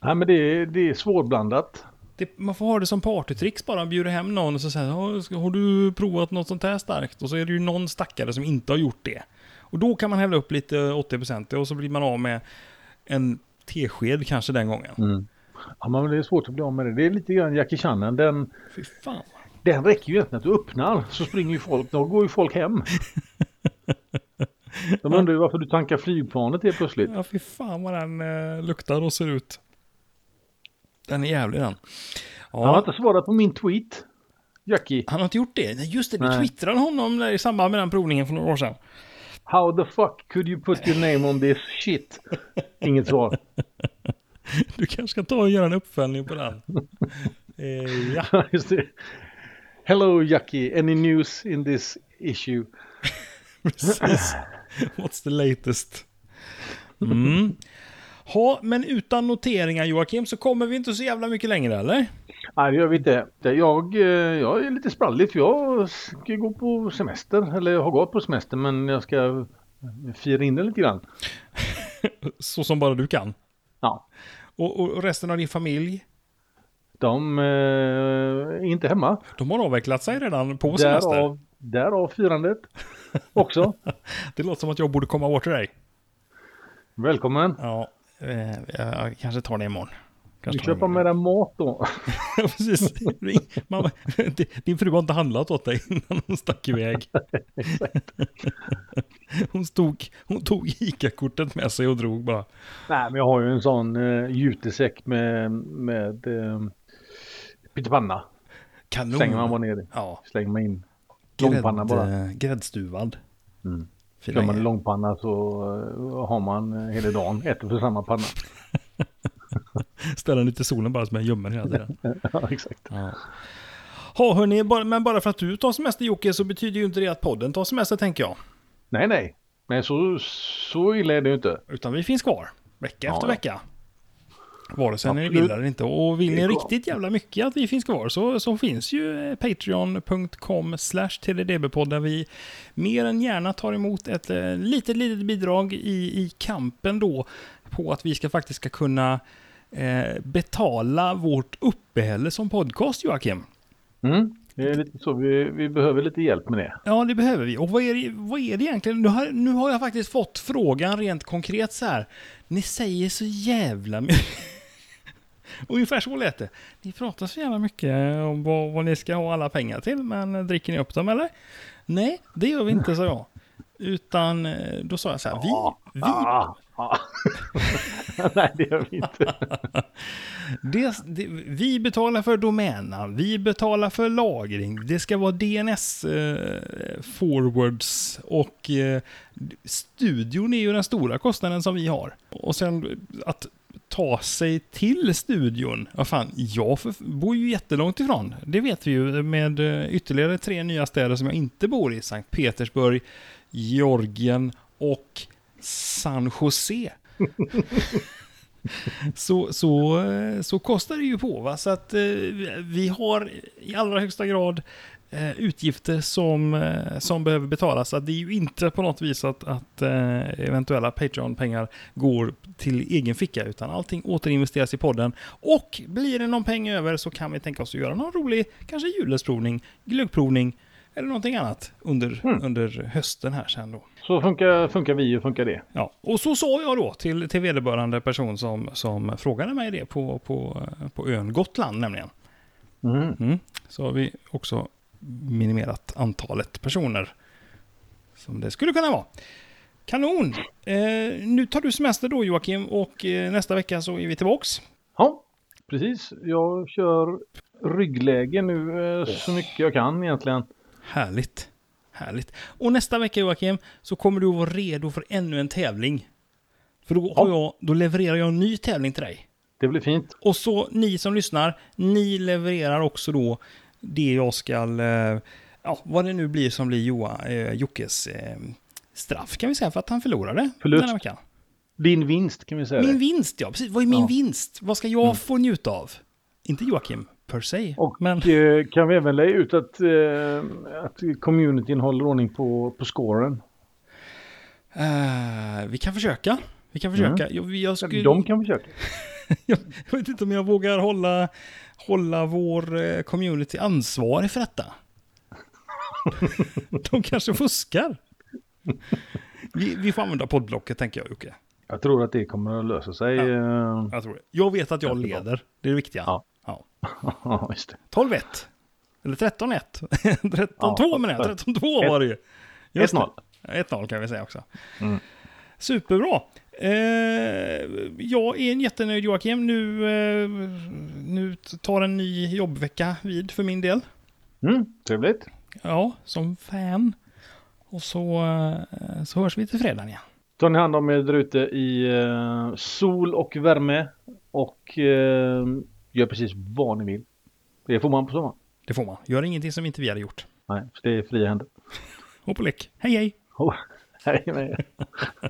B: Nej, men det är, det är svårblandat.
A: Det, man får ha det som partytricks bara. Man bjuder hem någon och så säger "Ja, ska- har du provat något sånt här starkt? Och så är det ju någon stackare som inte har gjort det. Och då kan man hälla upp lite 80% och så blir man av med en tesked kanske den gången.
B: Mm. Ja, men det är svårt att bli av med det. Det är lite grann Jackie Chanen. Den,
A: Fy fan.
B: den räcker ju egentligen att du öppnar så springer ju folk. Då går ju folk hem. De undrar ju varför du tankar flygplanet helt plötsligt.
A: Ja, fy fan vad den eh, luktar och ser ut. Den är jävlig den. Ja.
B: Han har inte svarat på min tweet. Jackie,
A: Han har inte gjort det? Nej, just det. Du
B: Nej.
A: twittrade honom när, i samband med den provningen för några år sedan.
B: how the fuck could you put your name on this shit? Inget svar. (laughs)
A: Du kanske ska ta och göra en uppföljning på
B: (laughs)
A: den. eh, ja.
B: Just det. Hello Jackie, any news in this issue?
A: (laughs) Precis. What's the latest? Mm. Ha, men utan noteringar Joakim så kommer vi inte så jävla mycket längre eller?
B: Nej, det gör vi inte. Jag, eh, jag är lite sprallig för jag ska gå på semester, eller jag har gått på semester men jag ska fira in det lite grann.
A: Så som bara du kan.
B: Ja.
A: Och, och resten av din familj?
B: De eh, är inte hemma.
A: De har avvecklat sig redan på semester.
B: Därav, därav
A: (laughs)
B: firandet också.
A: Det låter som att jag borde komma åt till dig.
B: Välkommen.
A: Ja, eh, jag kanske tar det imorgon.
B: Du
A: Kanske tar det
B: köper
A: imorgon.
B: med dig mat då.
A: Ja, (laughs) precis. Ring. Mamma, din fru har inte handlat åt dig innan hon stack
B: (laughs)
A: iväg. Hon, stod, hon tog ICA-kortet med sig och drog bara.
B: Nej, men jag har ju en sån eh, jutesäck med, med eh, pyttipanna.
A: Kanon.
B: Slänger man bara ner i.
A: Ja,
B: Slänger man in. Långpanna bara.
A: grädd, eh, gräddstuvad.
B: Mm.
A: Fina
B: Kör man i
A: grejer.
B: långpanna så eh, har man eh, hela dagen ett och samma panna. (laughs)
A: Ställer den ut i solen bara som en gömmer hela tiden.
B: ja, exakt.
A: Ja. Ha, hörni, bara, men bara för att du tar semester Jocke så betyder ju inte det att podden tar semester tänker jag.
B: Nej, nej. Men så, så illa är det ju inte.
A: Utan vi finns kvar, vecka
B: Ja,
A: efter
B: ja.
A: vecka. Vare sig ni
B: Absolut.
A: vill eller inte. Och vill
B: Det
A: ni
B: är bra.
A: riktigt jävla mycket att vi finns kvar så, så finns ju eh, patreon.com slash tddb-podd där vi mer än gärna tar emot ett eh, litet, litet bidrag i, i kampen då på att vi ska faktiskt ska kunna eh, betala vårt uppehälle som podcast, Joakim.
B: Mm. Det är lite så. Vi, vi behöver lite hjälp med det.
A: Ja, det behöver vi. Och vad är det, vad är det egentligen? Nu har, nu har jag faktiskt fått frågan rent konkret så här. Ni säger så jävla mycket. (laughs) Ungefär så lät det. Ni pratar så jävla mycket om vad, vad ni ska ha alla pengar till, men dricker ni upp dem eller? Nej, det gör vi inte, sa jag. Utan eh, då sa jag så här, vi, vi
B: Ah, ah. (laughs) nej, det gör vi inte.
A: Det, det, vi betalar för domännamn, vi betalar för lagring, det ska vara DNS eh, forwards och eh, studion är ju den stora kostnaden som vi har. Och sen att ta sig till studion, vad fan, jag för, bor ju jättelångt ifrån. Det vet vi ju med eh, ytterligare tre nya städer som jag inte bor i, Sankt Petersburg, Georgien och San Jose så, så, eh, så kostar det ju på. Va? Så att eh, vi- vi har i allra högsta grad eh, utgifter som, eh, som behöver betalas. Så att det är ju inte på något vis att, att eh, eventuella Patreon-pengar går till egen ficka, utan allting återinvesteras i podden. Och blir det någon peng över så kan vi tänka oss att göra någon rolig, kanske jullösprovning, glöggprovning eller någonting annat under, under hösten här sen då.
B: Så funkar, funkar vi och funkar det.
A: Ja, och så sa jag då till, till vederbörande person som, som frågade mig det på, på, på ön Gotland nämligen.
B: Mm.
A: Mm. Så har vi också minimerat antalet personer som det skulle kunna vara. Kanon! Eh, nu tar du semester då Joakim och eh, nästa vecka så är vi tillbaks.
B: Ja, precis. Jag kör ryggläge nu eh, så mycket jag kan egentligen.
A: Härligt! Härligt. Och nästa vecka Joakim så kommer du att vara redo för ännu en tävling. För då, har jag, då levererar jag en ny tävling till dig.
B: Det blir fint.
A: Och så ni som lyssnar, ni levererar också då det jag ska, eh, ja, vad det nu blir som blir Joa, eh, Jockes eh, straff kan vi säga för att han förlorade
B: Förlust.
A: denna veckan.
B: Din vinst kan vi säga.
A: Min
B: det.
A: vinst ja, precis. Vad är min
B: Ja. Mm.
A: vinst? Vad ska jag få njuta av? Inte Joakim per se,
B: Och
A: men
B: eh, kan vi även lägga ut att, eh, att communityn håller ordning på, på scoren?
A: eh, vi kan försöka. Vi kan försöka. Jag, jag, skulle,
B: Mm. De kan försöka.
A: jag, jag vet inte om jag vågar hålla, hålla vår eh, community ansvarig för
B: (laughs)
A: detta. De kanske fuskar. Vi, vi får använda poddblocket tänker jag Jocke.
B: Jag tror att det kommer att lösa sig. eh, (laughs)
A: Jag tror det. Jag vet att jag
B: Jättebra.
A: leder. Det är det viktiga.
B: Ja.
A: Ja.
B: Ja, just det.
A: 12-1. Eller 13-1. (laughs) 13-2
B: Ja,
A: menar jag.
B: ett-
A: 13-2 var det ju. Just det.
B: 1-0.
A: Ja, 1-0 kan vi säga också. Superbra. Eh, jag är en jättenöjd Joakim. Nu, eh, nu tar en ny jobbvecka vid för min del.
B: Mm, trevligt.
A: Ja, som fan. Och så, eh, så hörs vi till fredagen igen.
B: Tar ni hand om er där ute i eh, sol och värme och eh, gör precis vad ni vill. Det får man på sommaren.
A: Det får man. Gör ingenting som inte vi hade gjort.
B: (laughs) Nej, för det är fria händer.
A: Hopp och lek. Hej hej!
B: Oh, hej med er.